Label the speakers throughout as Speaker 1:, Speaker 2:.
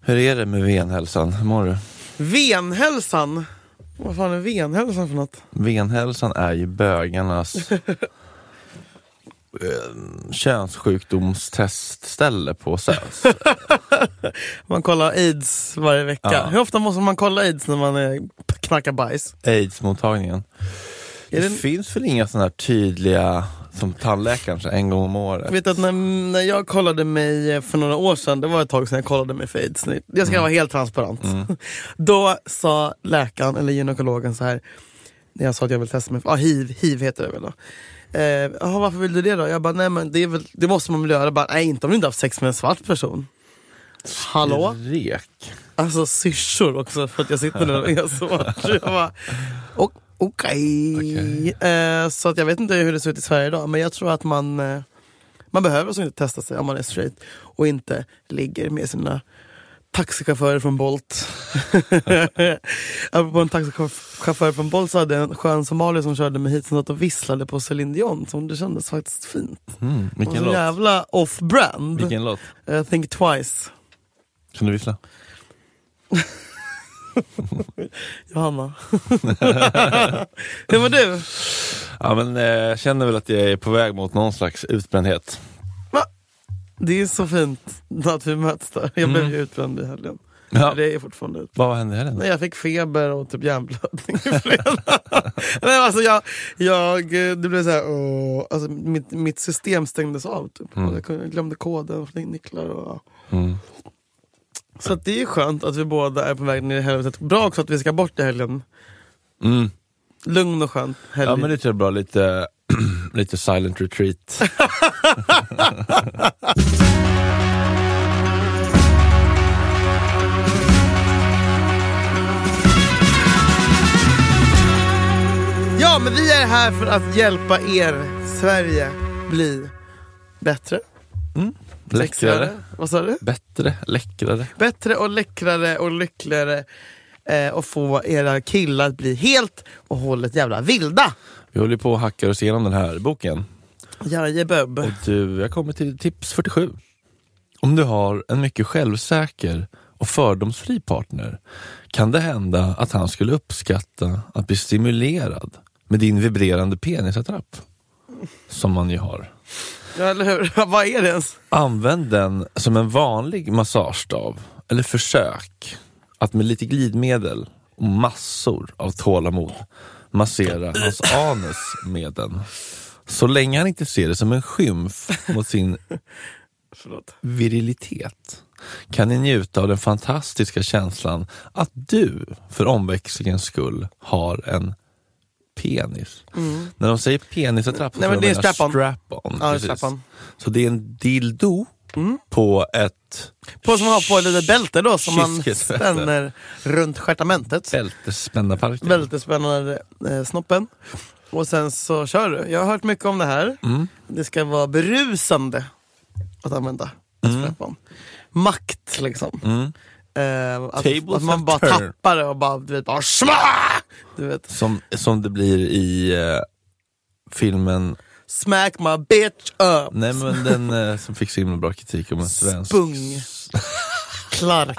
Speaker 1: Hur är det med venhälsan? Hur mår du?
Speaker 2: Venhälsan? Vad fan är venhälsan för något?
Speaker 1: Venhälsan är ju bögarnas eh, könssjukdomstestställe på SÖS.
Speaker 2: Man kollar aids varje vecka.
Speaker 1: Ja.
Speaker 2: Hur ofta måste man kolla aids när man är, knackar bajs?
Speaker 1: Aids-mottagningen. Det,
Speaker 2: Är det-
Speaker 1: finns väl inga sådana här tydliga, som tandläkaren, så en gång om året?
Speaker 2: Jag vet att när, när jag kollade mig eh, för några år sedan, det var ett tag sedan jag kollade mig för aids. nu. Jag ska vara helt transparent. Då sa läkaren, eller gynekologen så här, när jag sa att jag vill testa mig, för- ah, hiv, hiv heter det väl då. Eh, "Jaha, varför vill du det då? Jag bara, nej men det, är väl, det måste man väl göra. Jag Bara, nej, inte om du inte haft sex med en svart person. Hallå?
Speaker 1: Rek.
Speaker 2: Alltså syrsor också för att jag sitter där och är svart. Så Jag bara, o- okej.
Speaker 1: Okej.
Speaker 2: Eh, så att jag vet inte hur det ser ut i Sverige idag men jag tror att man, eh, man behöver alltså inte testa sig om man är straight och inte ligger med sina taxichaufförer från Bolt. Apropå en taxichaufför från Bolt så hade jag en skön somalier som körde mig hit som satt och visslade på Celine Dion. Som det kändes faktiskt fint.
Speaker 1: Mm,
Speaker 2: Hon var
Speaker 1: vilken
Speaker 2: så
Speaker 1: låt?
Speaker 2: jävla off-brand.
Speaker 1: Vilken låt?
Speaker 2: Eh, think twice.
Speaker 1: Kan du vissla?
Speaker 2: Johanna. Hur mår du?
Speaker 1: Ja, men eh, jag känner väl att jag är på väg mot någon slags utbrändhet.
Speaker 2: Va? Det är så fint att vi möts där. Jag blev ju utbränd i helgen.
Speaker 1: Mm. Ja.
Speaker 2: Det är fortfarande ut.
Speaker 1: Vad hände här? då?
Speaker 2: Nej, jag fick feber och typ hjärnblödning i fredag. Nej, alltså jag, jag, eh, det blev så här, åh, alltså mitt, mitt system stängdes av. Typ. Och Jag kunde- glömde koden, för nycklar och...
Speaker 1: Mm.
Speaker 2: Så att det är ju skönt att vi båda är på väg ner i helvetet. Bra också att vi ska bort i helgen.
Speaker 1: Mm.
Speaker 2: Lugn och skön helg.
Speaker 1: Ja men det tror jag är bra, lite, lite silent retreat.
Speaker 2: Ja, men vi är här för att hjälpa er, Sverige, bli bättre,
Speaker 1: Läckrare.
Speaker 2: Vad sa du?
Speaker 1: Bättre, läckrare.
Speaker 2: Bättre och läckrare och lyckligare eh, och få era killar att bli helt och hållet jävla vilda.
Speaker 1: Vi håller på och hackar oss igenom den här boken.
Speaker 2: Jajeböb.
Speaker 1: Och du, jag kommer till tips 47. Om du har en mycket självsäker och fördomsfri partner kan det hända att han skulle uppskatta att bli stimulerad med din vibrerande penisattrapp. Som man ju har.
Speaker 2: Ja, eller hur? Vad är det ens?
Speaker 1: Använd den som en vanlig massagestav, eller försök att med lite glidmedel och massor av tålamod massera hans anus med den. Så länge han inte ser det som en skymf mot sin
Speaker 2: Förlåt.
Speaker 1: virilitet kan ni njuta av den fantastiska känslan att du för omväxlingens skull har en penis. När de säger penisattrapp så
Speaker 2: Mm. Nej,
Speaker 1: tror de
Speaker 2: men det är
Speaker 1: menar
Speaker 2: strap-on.
Speaker 1: strap-on.
Speaker 2: Ja,
Speaker 1: precis.
Speaker 2: strap-on.
Speaker 1: Så det är en dildo på ett
Speaker 2: Mm. På som man har på ett litet bälte då som man
Speaker 1: Kiskebälte.
Speaker 2: spänner runt stjärtamentet.
Speaker 1: bältespännarparken.
Speaker 2: Bältespännare eh, snoppen. Och sen så kör du. Jag har hört mycket om det här.
Speaker 1: Mm.
Speaker 2: Det ska vara berusande att använda mm. Makt liksom. Eh, att,
Speaker 1: Mm. Tables
Speaker 2: att man
Speaker 1: have
Speaker 2: bara
Speaker 1: turned.
Speaker 2: tappar det och bara, du vet, bara schma! Du vet,
Speaker 1: som, som det blir i eh, filmen,
Speaker 2: smack my bitch up.
Speaker 1: nej men den eh, som fick så himla bra kritik om en svensk.
Speaker 2: Spung. Clark.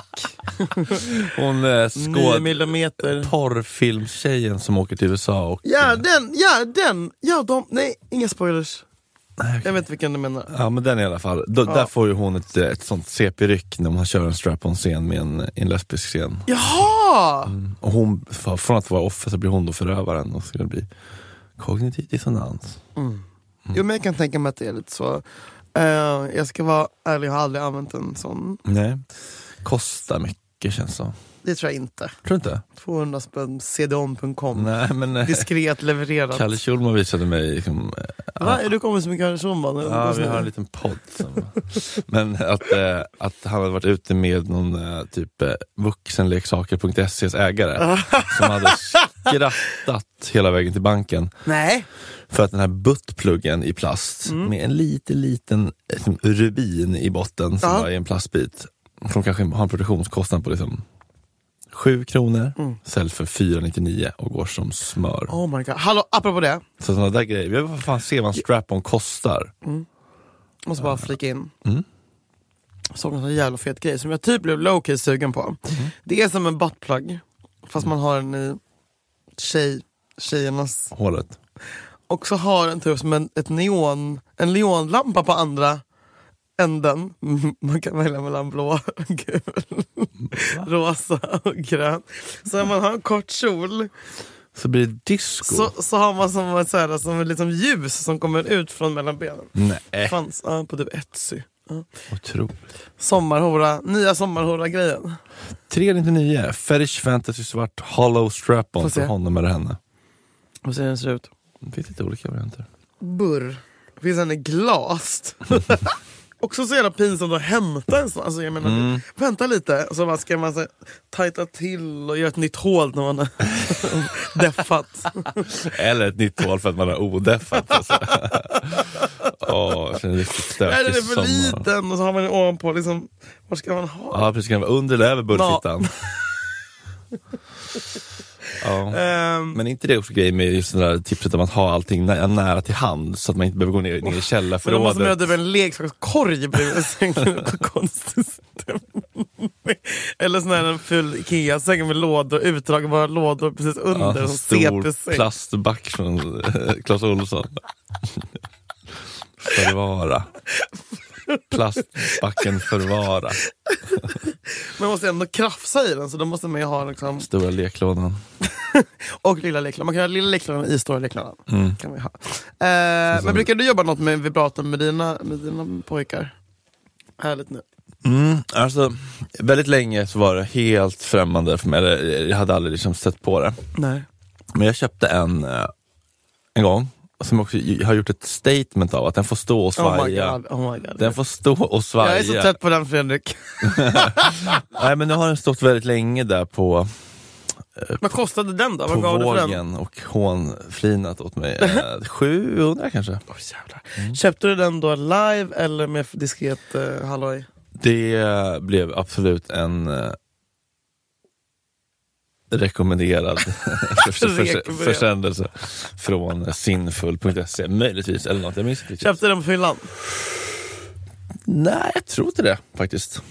Speaker 1: Hon eh,
Speaker 2: 9
Speaker 1: skåd...
Speaker 2: millimeter.
Speaker 1: Porrfilmstjejen som åker till USA och...
Speaker 2: Ja den, ja den, ja de, nej inga spoilers.
Speaker 1: Nej, okej.
Speaker 2: Jag vet vilken du menar.
Speaker 1: Ja men den i alla fall. Då, Där får ju hon ett, eh, ett sånt CP-ryck när man kör en strap-on-scen med en, eh, en lesbisk scen.
Speaker 2: Jaha!
Speaker 1: Och hon, f- från att vara offer så blir hon då förövaren och så ska det bli kognitiv dissonans.
Speaker 2: Mm. Jo men jag kan tänka mig att det är lite så. Eh, jag ska vara ärlig, jag har aldrig använt en sån.
Speaker 1: Nej. Kostar mycket känns som.
Speaker 2: Det tror jag inte.
Speaker 1: Tror du inte?
Speaker 2: 200 spänn, cdon.com.
Speaker 1: Nej men eh,
Speaker 2: Diskret levererat.
Speaker 1: Kalle Schulman visade mig liksom, eh,
Speaker 2: Va? Är du kommer så mycket Anders Schulman?
Speaker 1: Ja, vi har en liten podd. Som, men att, eh, att han hade varit ute med någon eh, typ eh, vuxenleksaker.ses ägare som hade skrattat hela vägen till banken
Speaker 2: Nej.
Speaker 1: för att den här buttpluggen i plast med en liten, liten eh, rubin i botten som
Speaker 2: Ja.
Speaker 1: var i en plastbit som kanske har en produktionskostnad på liksom 7 kronor, säljs för 499 och går som smör.
Speaker 2: Oh my god. Hallå, apropå det.
Speaker 1: Så sådana där grejer. Jag vill fan se vad en strap-on kostar. Mm.
Speaker 2: Måste bara flika in. såg en sån jävla fet grej som jag typ blev low-key sugen på.
Speaker 1: Mm.
Speaker 2: Det är som en buttplug, fast man har den i tjej, tjejernas...
Speaker 1: Hålet.
Speaker 2: Och så har den typ som en, ett neon, en neonlampa på andra änden. Mm, Man kan välja mellan blå, gul, rosa och grön. Så om man har en kort kjol
Speaker 1: Så blir det disco.
Speaker 2: så, så har man som, en så här, som ett liksom ljus som kommer ut från mellan benen.
Speaker 1: Nej,
Speaker 2: Fanns ja, på typ Etsy. Ja.
Speaker 1: otroligt.
Speaker 2: Sommarhora, nya sommarhora-grejen.
Speaker 1: 399, Fetish Fantasy Svart Hollow
Speaker 2: Får
Speaker 1: Strap-On
Speaker 2: se.
Speaker 1: för honom eller henne.
Speaker 2: Vad ser den ser ut?
Speaker 1: Det finns lite olika varianter.
Speaker 2: Burr. Finns den i glast? Också så jävla pinsamt att hämta en sån. Alltså jag menar,
Speaker 1: Mm.
Speaker 2: Vänta lite, och så bara ska man så här, tajta till och göra ett nytt hål när man har deffat.
Speaker 1: Eller ett nytt hål för att man har odeffat. Alltså. Åh, jag känner riktigt stökig
Speaker 2: Nej, den är för
Speaker 1: sommar.
Speaker 2: liten och så har man den ovanpå. Liksom, var ska man ha den?
Speaker 1: Ja, precis. Kan det vara under eller över bullfittan? ja.
Speaker 2: Ehm,
Speaker 1: Men är inte det också grejen med just det där tipset om att ha allting nä- nära till hand så att man inte behöver gå ner, ner i
Speaker 2: Men då måste man ha
Speaker 1: källarförrådet?
Speaker 2: typ en leksakskorg bredvid sängen. Konstig stämning. Eller sån här en ful Ikea-säng med lådor, utdragbara lådor precis
Speaker 1: Ja,
Speaker 2: under.
Speaker 1: en
Speaker 2: som
Speaker 1: stor
Speaker 2: CP-säng.
Speaker 1: plastback från eh, Clas Ohlson. Förvara. Plastbacken Förvara.
Speaker 2: Man måste ändå krafsa i den så då måste man ju ha liksom,
Speaker 1: Stora leklådan.
Speaker 2: och lilla leklådan. Man kan ha lilla leklådan i stora leklådan.
Speaker 1: Mm.
Speaker 2: Kan vi ha. Eh, men brukar du jobba något med vibrator med dina, med dina pojkar? Härligt nu.
Speaker 1: Mm, alltså, väldigt länge så var det helt främmande för mig. Eller, jag hade aldrig liksom sett på det.
Speaker 2: Nej.
Speaker 1: Men jag köpte en eh, en gång, som också ju- har gjort ett statement av att den får stå och
Speaker 2: Oh my
Speaker 1: svaja.
Speaker 2: god. Oh my god.
Speaker 1: den får stå och svaja.
Speaker 2: Jag är så trött på den Fredrik.
Speaker 1: Nej men nu har den stått väldigt länge där på,
Speaker 2: Vad kostade den då?
Speaker 1: på
Speaker 2: Vad gav du för den?
Speaker 1: vågen och hånflinat åt mig. Eh, 700 kanske?
Speaker 2: Åh, jävlar.
Speaker 1: Mm.
Speaker 2: Köpte du den då live eller med diskret eh, halloj?
Speaker 1: Det blev absolut en eh, rekommenderad förs- förs-
Speaker 2: Rekommenderad.
Speaker 1: försändelse från sinfull.se, möjligtvis. Eller något, jag minns inte riktigt.
Speaker 2: Köpte du den på fyllan?
Speaker 1: Nej, jag tror inte det faktiskt.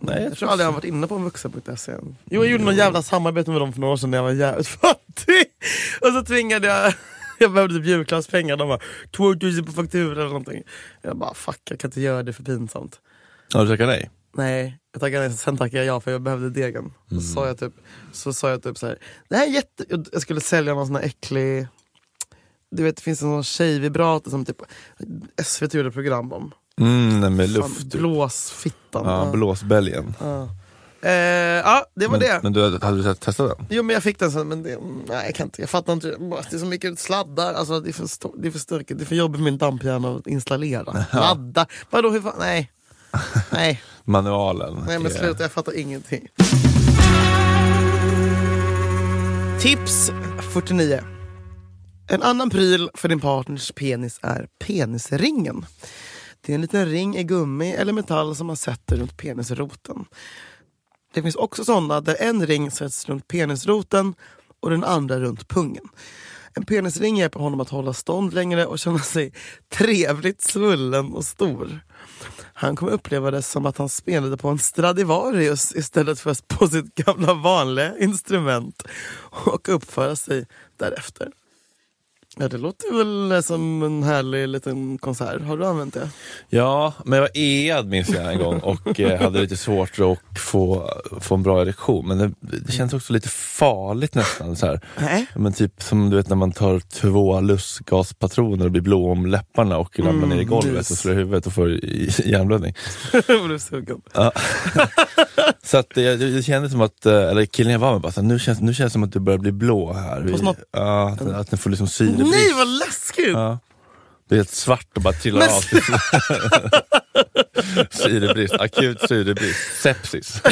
Speaker 1: Nej,
Speaker 2: Jag tror aldrig jag har varit inne på vuxen.se än. Jo, jag gjorde något jävla samarbete med dem för några år sedan när jag var jävligt fattig. Och så tvingade jag... Jag behövde typ julklappspengar. De bara 2000 på faktura eller någonting. Jag bara fuck, jag kan inte göra det för pinsamt.
Speaker 1: Har du tackat nej?
Speaker 2: Nej, jag tackade nej. Sen tackade jag ja för jag behövde degen. Så
Speaker 1: Mm.
Speaker 2: sa jag typ så, sa jag typ så här. Det här är jätte... Jag skulle sälja någon sån här äcklig... Du vet, det finns en sån tjejvibrator som typ SVT gjorde program om.
Speaker 1: Mm, nej, med
Speaker 2: Fan,
Speaker 1: luft.
Speaker 2: Blåsfittan.
Speaker 1: Ja,
Speaker 2: Ja.
Speaker 1: blåsbälgen.
Speaker 2: Ja. Eh, ja, det var
Speaker 1: men,
Speaker 2: det.
Speaker 1: Men du, hade- hade du testat den?
Speaker 2: Jo men jag fick den sen men det, mm, nej jag kan inte, jag fattar inte. Det är så mycket sladdar, alltså, det, är för stor, det är för stökigt, det är för jobbigt för min damphjärna att installera. Ladda, vadå hur fan, nej. Nej,
Speaker 1: Manualen.
Speaker 2: nej men
Speaker 1: är-
Speaker 2: sluta jag fattar ingenting. Tips 49. En annan pryl för din partners penis är penisringen. Det är en liten ring i gummi eller metall som man sätter runt penisroten. Det finns också sådana där en ring sätts runt penisroten och den andra runt pungen. En penisring hjälper honom att hålla stånd längre och känna sig trevligt svullen och stor. Han kommer uppleva det som att han spelade på en Stradivarius istället för på sitt gamla vanliga instrument och uppföra sig därefter. Ja, det låter väl som en härlig liten konsert. Har du använt det?
Speaker 1: Ja, men jag var ead minns jag en gång och eh, hade lite svårt att få, få en bra erektion. Men det, det känns också lite farligt nästan. Så här.
Speaker 2: Nej.
Speaker 1: Men typ som du vet när man tar två lustgaspatroner och blir blå om läpparna och ramlar
Speaker 2: Mm,
Speaker 1: ner i golvet
Speaker 2: nys.
Speaker 1: och slår i huvudet och får i- hjärnblödning.
Speaker 2: Jag blev sugen.
Speaker 1: Så att det, det kändes som att, eh, eller killen jag var med bara, så här, nu känns, nu känns det som att du börjar bli blå här. Vi,
Speaker 2: Fast man-
Speaker 1: ja, att, att den får liksom syrebrist.
Speaker 2: Nej, vad läskigt!
Speaker 1: Ja. Det är helt svart och bara trillar
Speaker 2: Men
Speaker 1: av. syrebrist, akut syrebrist, sepsis.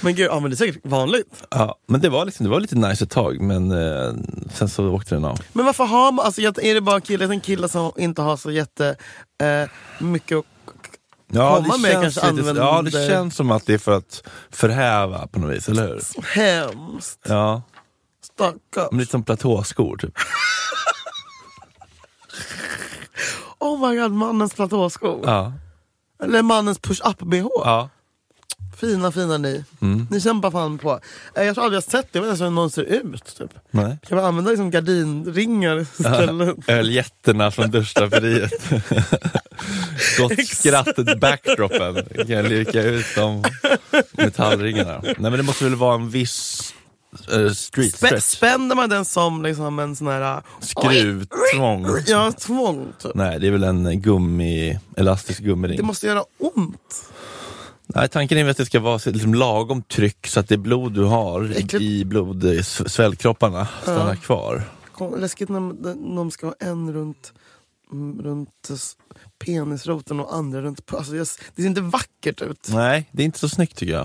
Speaker 2: Men gud, ja, men det är säkert vanligt.
Speaker 1: Ja, men det var, liksom, det var lite nice ett tag, men eh, sen så åkte den av.
Speaker 2: Men varför har man, alltså, jag- är det bara killar, en kille som inte har så jätte eh, mycket att
Speaker 1: Ja,
Speaker 2: Komma med kanske
Speaker 1: lite,
Speaker 2: använder-
Speaker 1: ja, det känns som att det är för att förhäva på något vis, eller hur?
Speaker 2: hemskt,
Speaker 1: Ja, men
Speaker 2: stackarn.
Speaker 1: lite som platåskor typ.
Speaker 2: Oh my god, mannens platåskor.
Speaker 1: Ja.
Speaker 2: Eller mannens push-up-bh.
Speaker 1: Ja.
Speaker 2: Fina, fina ni.
Speaker 1: Mm.
Speaker 2: Ni kämpar fan på. Eh, Jag tror aldrig jag har sett det, jag vet inte ens hur någon ser ut. Typ.
Speaker 1: Nej.
Speaker 2: Kan man använda liksom gardinringar istället?
Speaker 1: Öljätterna från duschdraperiet. Gott
Speaker 2: Exakt.
Speaker 1: skratt, backdropen. Jag kan lirka ut de metallringarna. Nej men det måste väl vara en viss eh, street
Speaker 2: Spä-
Speaker 1: stretch.
Speaker 2: Spänner man den som liksom en sån här...
Speaker 1: Skruvtrång.
Speaker 2: Ja, tvång typ.
Speaker 1: Nej, det är väl en eh, gummi, elastisk gummiring.
Speaker 2: Det måste göra ont.
Speaker 1: Nej, tanken är väl att det ska vara så- liksom lagom tryck så att det blod du har
Speaker 2: Äckligt.
Speaker 1: i, i blod, i s- svällkropparna stannar kvar.
Speaker 2: Kom, Läskigt när de- de ska ha en runt, mm, runt s- penisroten och andra runt... p- Alltså, jag, s- det ser inte vackert ut.
Speaker 1: Nej, det är inte så snyggt tycker jag.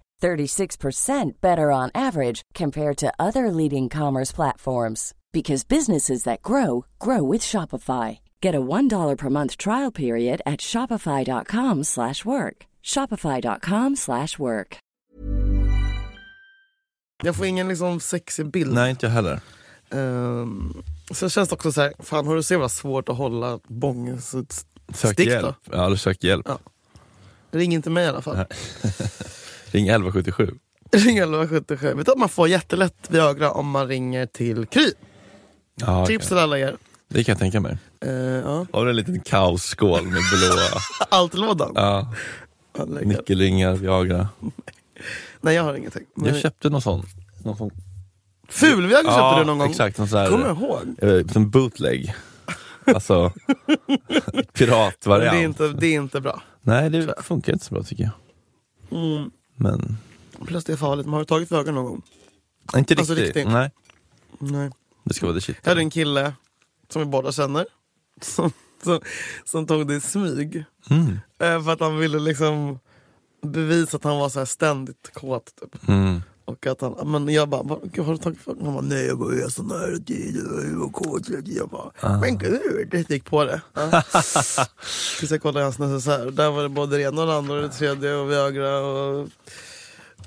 Speaker 3: 36% better on average compared to other leading commerce platforms because businesses that grow grow with Shopify. Get a $1 per month trial period at shopify.com/work. slash work. shopify.com/work. slash work.
Speaker 2: Jag får ingen liksom sexig bild.
Speaker 1: Nej, inte jag heller.
Speaker 2: Ehm, så känns det också så här, fan har du så jävla svårt att hålla bången så s-
Speaker 1: Sök
Speaker 2: stick
Speaker 1: hjälp. Ja, du sök hjälp.
Speaker 2: Ja. då. Ring inte mig i alla fall.
Speaker 1: Nej. Ring 1177.
Speaker 2: Ring 1177. Vet du att man får jättelätt Viagra om man ringer till Kry?
Speaker 1: Ja, okej.
Speaker 2: Tips till alla er.
Speaker 1: Det kan jag tänka mig.
Speaker 2: Eh, ja.
Speaker 1: Har du en liten kaosskål med blåa
Speaker 2: Allt-lådan.
Speaker 1: ja,
Speaker 2: Ja, lägger.
Speaker 1: nyckelringar, Viagra?
Speaker 2: Nej jag har ingenting. Men-
Speaker 1: Jag köpte någon sån. Någon sån.
Speaker 2: Ful-Viagra köpte du någon gång.
Speaker 1: exakt. Någon sån här,
Speaker 2: Kommer jag ihåg.
Speaker 1: eh, som bootleg. Alltså,
Speaker 2: Det
Speaker 1: piratvariant.
Speaker 2: är, inte, det är inte bra.
Speaker 1: Nej, det funkar inte så bra tycker jag.
Speaker 2: Mm.
Speaker 1: Men
Speaker 2: Plus det är farligt. Men har du tagit Viagra någon gång?
Speaker 1: inte riktigt.
Speaker 2: Alltså, riktigt.
Speaker 1: Nej,
Speaker 2: Nej.
Speaker 1: det ska vara det shit.
Speaker 2: Jag hade en kille som vi båda känner. Som, som, som tog det i smyg.
Speaker 1: Mm.
Speaker 2: Eh, för att han ville liksom bevisa att han var så här ständigt kåt. Typ.
Speaker 1: Mm.
Speaker 2: Och att han, men jag bara, bara gud, har du tagit för Han bara, nej jag bara, jag är sån här, jag var kåt. Jag bara,
Speaker 1: Ah.
Speaker 2: men gud, det gick på det. Ja. Tills jag kollade i hans necessär, där var det både det ena och det andra och det tredje och Viagra och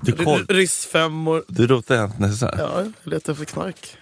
Speaker 1: Du,
Speaker 2: ry-
Speaker 1: koll,
Speaker 2: ryssfemmor.
Speaker 1: du rotade i hans necessär?
Speaker 2: Ja, jag letar efter knark.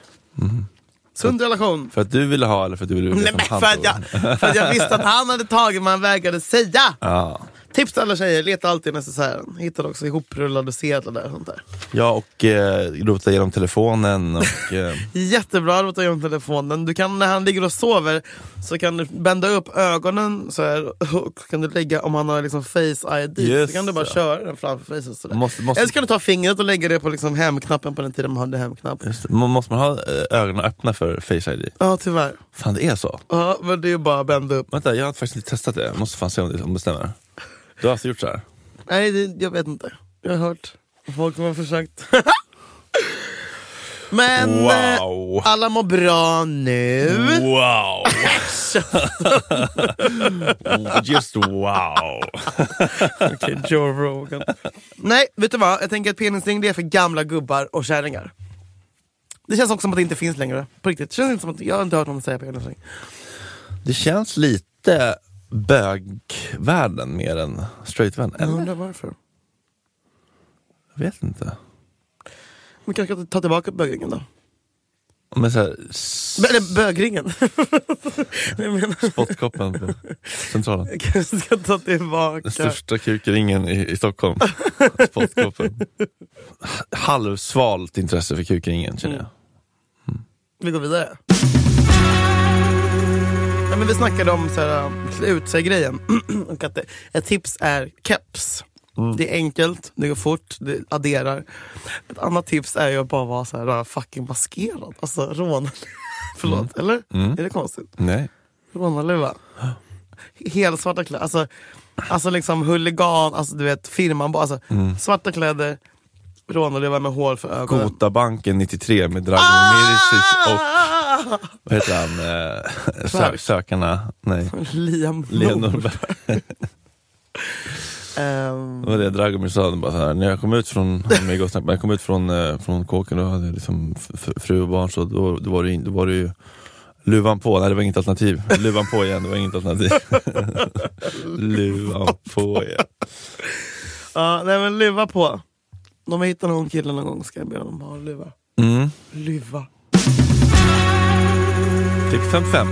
Speaker 2: Sund relation.
Speaker 1: För att du ville ha eller för att du ville veta
Speaker 2: Nej
Speaker 1: Mm. som han
Speaker 2: men för att,
Speaker 1: tog?
Speaker 2: jag, för att jag visste att han hade tagit men han vägrade säga.
Speaker 1: Ja.
Speaker 2: Tips till alla tjejer, leta alltid i necessären. Hittar också ihoprullade sedlar där. och Sånt där.
Speaker 1: ja, och eh, rotade genom telefonen och... Eh,
Speaker 2: Jättebra att ta igenom telefonen. Du kan, när han ligger och sover så kan du bända upp ögonen så här, och kan du lägga, om han har liksom face ID,
Speaker 1: Just
Speaker 2: så kan du bara
Speaker 1: det.
Speaker 2: köra den framför facet. Sådär.
Speaker 1: Måste- måste-
Speaker 2: Eller så kan du ta fingret och lägga det på liksom hemknappen på den tiden man hade hemknapp.
Speaker 1: Just det. Må- Måste man ha eh, ögonen öppna för Face ID?
Speaker 2: Ja tyvärr.
Speaker 1: Fan det är så?
Speaker 2: Ja, men det är ju bara att bända upp.
Speaker 1: Vänta, jag har faktiskt inte testat det. Jag måste fan se om det, om det stämmer. Du har alltså gjort så här?
Speaker 2: Nej, det, jag vet inte. Jag har hört. Folk har försökt. Men eh,
Speaker 1: Wow!
Speaker 2: alla mår bra nu.
Speaker 1: Wow! Just wow!
Speaker 2: Okej, Joe Rogan. Nej, vet du vad? Jag tänker att penisring det är för gamla gubbar och kärringar. Det känns också som att det inte finns längre. På riktigt. Det känns inte som att, jag har inte hört någon säga penisring.
Speaker 1: Det känns lite bögvärlden mer än straightvärlden,
Speaker 2: Jag
Speaker 1: eller?
Speaker 2: undrar varför.
Speaker 1: Jag vet inte.
Speaker 2: Vi kanske ska ta tillbaka bögringen då?
Speaker 1: Men såhär,
Speaker 2: B- Eller bögringen. jag menar,
Speaker 1: spottkoppen på Centralen.
Speaker 2: jag kanske ska ta tillbaka...
Speaker 1: Den största kukringen i, i Stockholm. Spottkoppen. Halvsvalt intresse för kukringen känner jag.
Speaker 2: Vi går vidare. Ja, men vi snackade om så här, äh, klä ut sig-grejen. och att det, ett tips är keps.
Speaker 1: Mm.
Speaker 2: Det är enkelt, det går fort, det adderar. Ett annat tips är ju att bara vara så här, äh, fucking maskerad. Alltså rån...
Speaker 1: Mm.
Speaker 2: Förlåt, eller? Är det konstigt?
Speaker 1: Nej.
Speaker 2: Rånarluva. Helsvarta kläder. Alltså, alltså liksom huligan, alltså du vet firman. Alltså,
Speaker 1: Mm.
Speaker 2: Svarta kläder, rånarluva med hål för ögonen.
Speaker 1: Gotabanken 93 med Dragan Mirisic och
Speaker 2: Ah!
Speaker 1: vad heter han, eh, sö- sökarna, nej,
Speaker 2: Liam
Speaker 1: Leonor Berg.
Speaker 2: Ehm,
Speaker 1: Det var det Dragomir sa, han bara så här, när jag kom ut från, han med i Gott Snack, när jag kom ut från, eh, från kåken då hade jag liksom f- fru och barn så då, då, var det, ju- då var det ju luvan på, nej det var inget alternativ. Luvan på igen, det var inget alternativ. luvan på igen.
Speaker 2: ja, nej men luva på. Om jag hittar någon kille någon gång ska jag be honom ha en luva.
Speaker 1: Mm.
Speaker 2: Luva.
Speaker 1: Tips 55.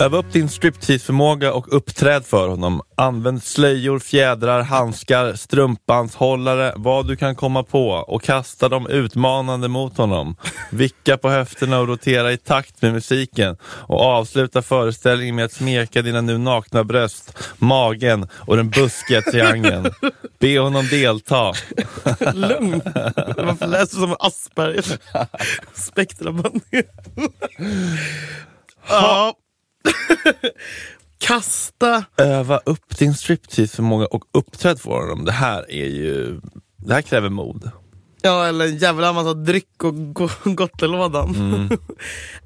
Speaker 1: Öva upp din striptease-förmåga och uppträd för honom. Använd slöjor, fjädrar, handskar, strumpbandshållare, vad du kan komma på och kasta dem utmanande mot honom. Vicka på höfterna och rotera i takt med musiken och avsluta föreställningen med att smeka dina nu nakna bröst, magen och den buskiga triangeln. Be honom delta.
Speaker 2: Lugn. Varför läser du som en Asperger? Spektrabandning. ja. Kasta.
Speaker 1: Öva upp din striptease-förmåga och uppträd för honom. Det här är ju... Det här kräver mod.
Speaker 2: Ja, eller en jävla massa dryck och go- gottelådan.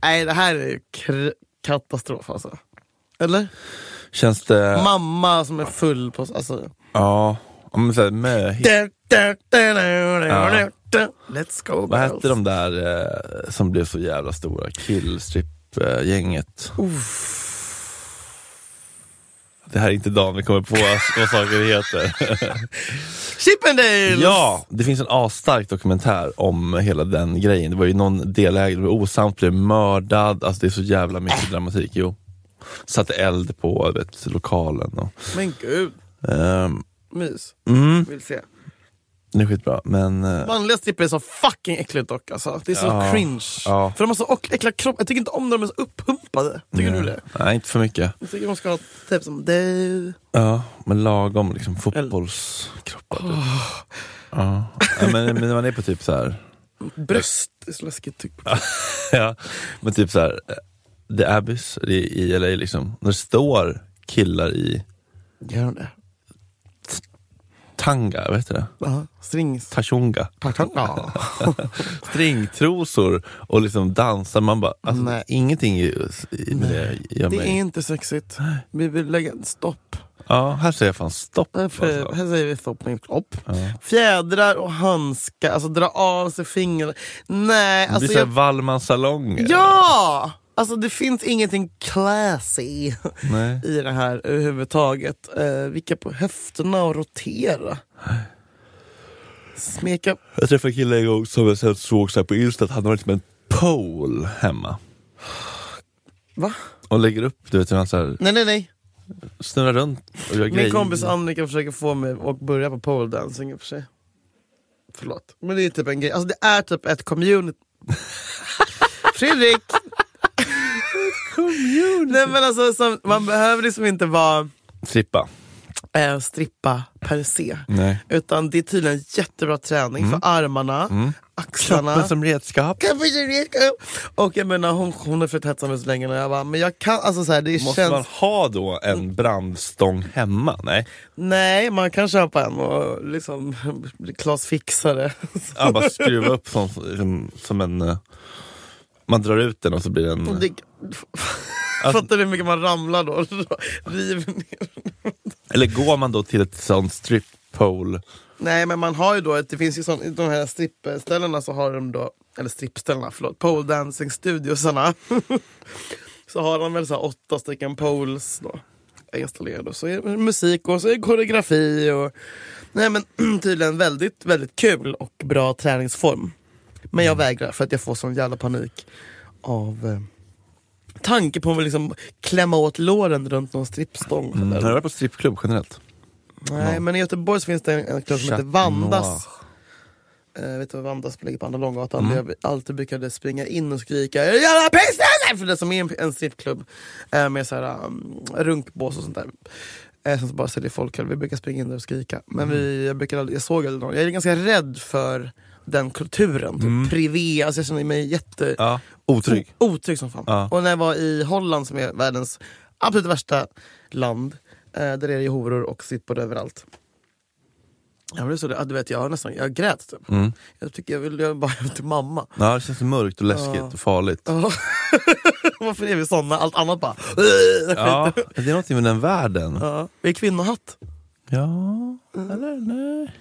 Speaker 2: Nej, det här är ju kr- katastrof alltså. Eller?
Speaker 1: Känns det...
Speaker 2: Mamma som är full på... Alltså.
Speaker 1: ja, om såhär möhit.
Speaker 2: Let's go
Speaker 1: Vad
Speaker 2: girls.
Speaker 1: hette de där eh, som blev så jävla stora? Killstrip-gänget. Det här är inte dagen vi kommer på vad- vad saker heter.
Speaker 2: Chippendales!
Speaker 1: ja, det finns en asstark dokumentär om hela den grejen. Det var ju någon delägare, det var osams, blev mördad. Alltså det är så jävla mycket
Speaker 2: Äh.
Speaker 1: dramatik. Jo. Satte eld på vet, lokalen. Och,
Speaker 2: Men gud,
Speaker 1: ehm,
Speaker 2: mys.
Speaker 1: mm,
Speaker 2: Vill se.
Speaker 1: det är skitbra. Men, eh,
Speaker 2: Manliga strippor är så fucking äckligt dock alltså. Det är så
Speaker 1: Ja.
Speaker 2: cringe.
Speaker 1: Ja.
Speaker 2: För de har så ock- äckliga kropp. Jag tycker inte om när de är så upphumpade. Tycker du det?
Speaker 1: Mm. nej, inte för mycket.
Speaker 2: Jag tycker de ska ha typ som du.
Speaker 1: Ja, men lagom liksom fotbollskroppar. typ. Ja. ja, men, men när man är på typ så här.
Speaker 2: Bröst är så läskigt. Typ.
Speaker 1: ja, men typ så här, eh, The Abyss i, i LA liksom. När det står killar i
Speaker 2: Gör de det?
Speaker 1: tanga, vad heter det?
Speaker 2: Ja. Strings.
Speaker 1: Tashunga.
Speaker 2: Ja.
Speaker 1: Stringtrosor och liksom dansar. Man bara, alltså,
Speaker 2: Nej.
Speaker 1: ingenting i, i med det gör
Speaker 2: Det är
Speaker 1: mig...
Speaker 2: inte sexigt. Vi vill lägga stopp.
Speaker 1: Ja, här säger jag fan stopp.
Speaker 2: Därför,
Speaker 1: Alltså.
Speaker 2: här säger vi stopp med stopp.
Speaker 1: Ja.
Speaker 2: Fjädrar och handskar, alltså dra av sig fingrar. Nej,
Speaker 1: Det blir
Speaker 2: alltså
Speaker 1: såhär
Speaker 2: jag
Speaker 1: Wallmans-salonger.
Speaker 2: Ja! Alltså det finns ingenting classy
Speaker 1: Nej.
Speaker 2: i det här överhuvudtaget. Eh, vicka på höfterna och rotera. Smeka.
Speaker 1: Jag träffade en kille en gång som jag sen såg så här på Insta att han har liksom en pole hemma.
Speaker 2: Va?
Speaker 1: Och lägger upp, du vet hur han så här
Speaker 2: Nej nej nej.
Speaker 1: snurrar runt och gör grejer.
Speaker 2: Min kompis Annika försöker få mig att börja på pole dancing i och för sig. Förlåt. Men det är typ en grej. Alltså det är typ ett community. Fredrik! community. Nej men alltså som, man behöver liksom inte vara
Speaker 1: Trippa.
Speaker 2: eh, strippa per se.
Speaker 1: Nej.
Speaker 2: Utan det är tydligen jättebra träning för armarna, axlarna.
Speaker 1: Mm. Kroppen som redskap.
Speaker 2: Och jag menar hon, hon har försökt hetsa mig så länge och jag bara, men jag kan, alltså så här, det
Speaker 1: Måste
Speaker 2: känns...
Speaker 1: man ha då en brandstång hemma? Nej.
Speaker 2: Nej, man kan köpa en och liksom bli Klas Fixare.
Speaker 1: Ja, bara skruva upp som, som, som en... eh, Man drar ut den och så blir den...
Speaker 2: Och det, Fattar du hur mycket man ramlar då? River ner.
Speaker 1: Eller går man då till ett sånt strip pole?
Speaker 2: Nej men man har ju då, ett- det finns ju sån, i de här strippställena så har de då, eller strippställena förlåt, pole dancing studiosarna. så har de väl så här åtta stycken poles då installerade. Och Så är det musik och så är det koreografi och nej men tydligen väldigt, väldigt kul och bra träningsform. Men jag vägrar för att jag får sån jävla panik av eh, tanke på att liksom klämma åt låren runt någon strippstång.
Speaker 1: Mm, Har
Speaker 2: Eller-
Speaker 1: du varit på strippklubb generellt?
Speaker 2: Nej, men i Göteborg så finns det en, en klubb som
Speaker 1: Chat
Speaker 2: heter Vandas. Eh, vet du vad Vandas ligger på Andra Långgatan?
Speaker 1: Mm.
Speaker 2: Där jag alltid brukade springa in och skrika Jävla pissen! För det som är en, en strippklubb eh, med så här, um, runkbås och sånt där. Eh, sen så bara säljer folk öl. Vi brukar springa in där och skrika. Men
Speaker 1: Mm.
Speaker 2: vi, jag, brukar aldrig, jag såg aldrig någon. Jag är ganska rädd för den kulturen. Typ privé. Alltså jag känner mig jätte...
Speaker 1: Mm. Ja. Otrygg.
Speaker 2: O- otrygg som fan.
Speaker 1: Ja.
Speaker 2: Och när jag var i Holland som är världens absolut värsta land. Eh, där är det ju horor och sippor överallt. Jag blev så, ja, du vet, jag, har nästan, jag grät typ.
Speaker 1: Mm.
Speaker 2: Jag tycker jag vill jag vill bara hem till mamma.
Speaker 1: Ja, det känns mörkt och läskigt och farligt.
Speaker 2: Ja. Varför är vi såna? Allt annat bara...
Speaker 1: Ja, det är någonting med den världen.
Speaker 2: Ja. Vi är kvinnohatt.
Speaker 1: Ja, eller nej.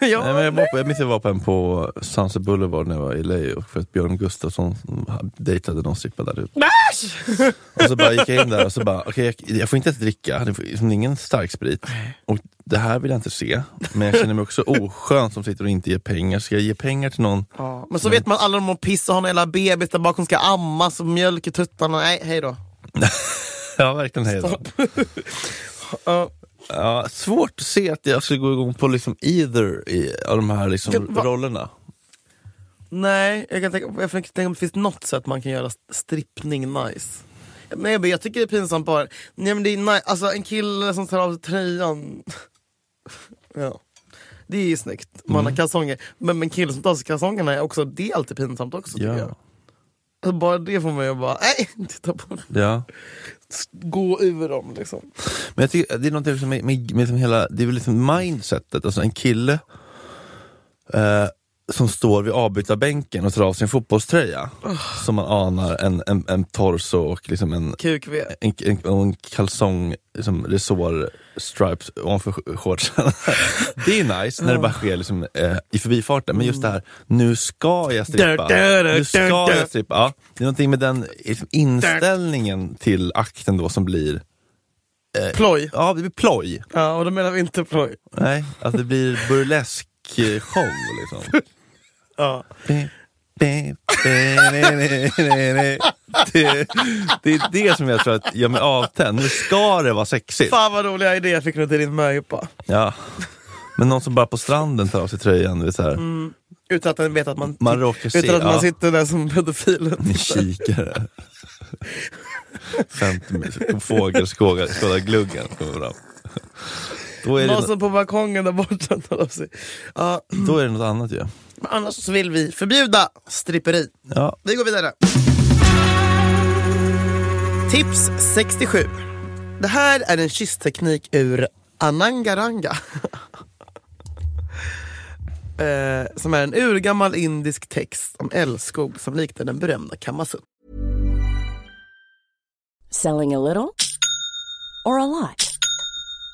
Speaker 2: ja,
Speaker 1: nej men jag, var på, jag minns jag var på en på Sunset Boulevard när jag var i LA och för att Björn Gustafsson dejtade någon strippa där ute. Och så bara gick jag in där och så bara, okej jag, jag får inte ens dricka, det får, liksom, ingen stark sprit. Och det här vill jag inte se. Men jag känner mig också oskön som sitter och inte ger pengar. Ska jag ge pengar till någon?
Speaker 2: Ja, men så vet man alla de mår piss och har en jävla bebis där bakom ska ammas och mjölk i tuttarna. Nej, hej då.
Speaker 1: Ja verkligen hej då.
Speaker 2: Ja.
Speaker 1: Ja, svårt att se att jag skulle gå igång på liksom either i, av de här liksom
Speaker 2: Kan- va-
Speaker 1: rollerna.
Speaker 2: nej, jag kan tänka, jag försöker tänka om det finns något sätt man kan göra strippning nice. Men jag, jag tycker det är pinsamt bara. Nej, men det är nice. Alltså en kille som tar av sig tröjan. ja. Det är ju snyggt, man har kalsonger. Men en kille som tar av sig kalsongerna är också, det är alltid pinsamt också tycker jag.
Speaker 1: Ja.
Speaker 2: Alltså, bara det får man ju bara, nej, titta på
Speaker 1: ja.
Speaker 2: Gå ur dem liksom.
Speaker 1: Men jag tycker, det är något liksom med, med, med liksom hela, det är väl liksom mindsetet, alltså en kille eh, som står vid avbytarbänken och tar av sig en fotbollströja. Som man anar en, en, en torso och liksom en,
Speaker 2: QQ.
Speaker 1: en, en, och en kalsong, liksom resår, stripes ovanför sh- shortsen. det är nice när det bara sker liksom, eh, i förbifarten, men just det här, nu ska jag strippa.
Speaker 2: Där, där,
Speaker 1: Nu ska
Speaker 2: där, där.
Speaker 1: jag strippa. Ja, det är någonting med den liksom, inställningen till akten då som blir
Speaker 2: Ploj.
Speaker 1: Ja, det blir ploj.
Speaker 2: Ja, och då menar vi inte ploj.
Speaker 1: Nej, att det blir burlesk eh, show liksom.
Speaker 2: Ja.
Speaker 1: Det, det är det som jag tror att gör mig avtänd. Nu ska det vara sexigt.
Speaker 2: Fan vad roliga idéer fick du till din möhippa.
Speaker 1: Ja. Men någon som bara på stranden tar av sig tröjan, du vet såhär,
Speaker 2: Utan att den vet att man,
Speaker 1: Man råkar se,
Speaker 2: utan att man
Speaker 1: ja.
Speaker 2: sitter där som pedofil.
Speaker 1: med kikare. Femte fågel skågar- skådar gluggen. kommer fram. Då är,
Speaker 2: Någon
Speaker 1: det,
Speaker 2: som på balkongen där borta tar av sig. Ja,
Speaker 1: då är det något annat ju. Ja.
Speaker 2: men annars så vill vi förbjuda stripperi.
Speaker 1: Ja.
Speaker 2: Vi går vidare. Tips 67. Det här är en kyssteknik ur Anangaranga. eh, som är en urgammal indisk text om älskog som liknar den berömda Kamasutra.
Speaker 3: Selling a little or a lot?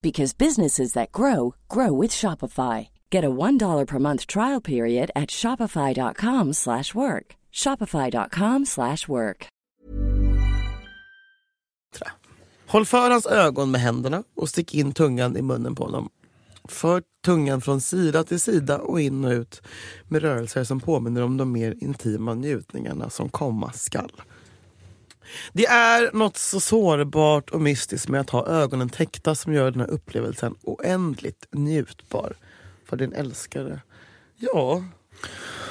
Speaker 3: because businesses that grow grow with Shopify. Get a $1 per month trial period at shopify.com/work. slash work. shopify.com/work. slash work.
Speaker 2: Håll för hans ögon med händerna och stick in tungan i munnen på honom. För tungan från sida till sida och in och ut med rörelser som påminner om de mer intima njutningarna som komma skall. Det är något så sårbart och mystiskt med att ha ögonen täckta som gör den här upplevelsen oändligt njutbar för din älskare. Ja,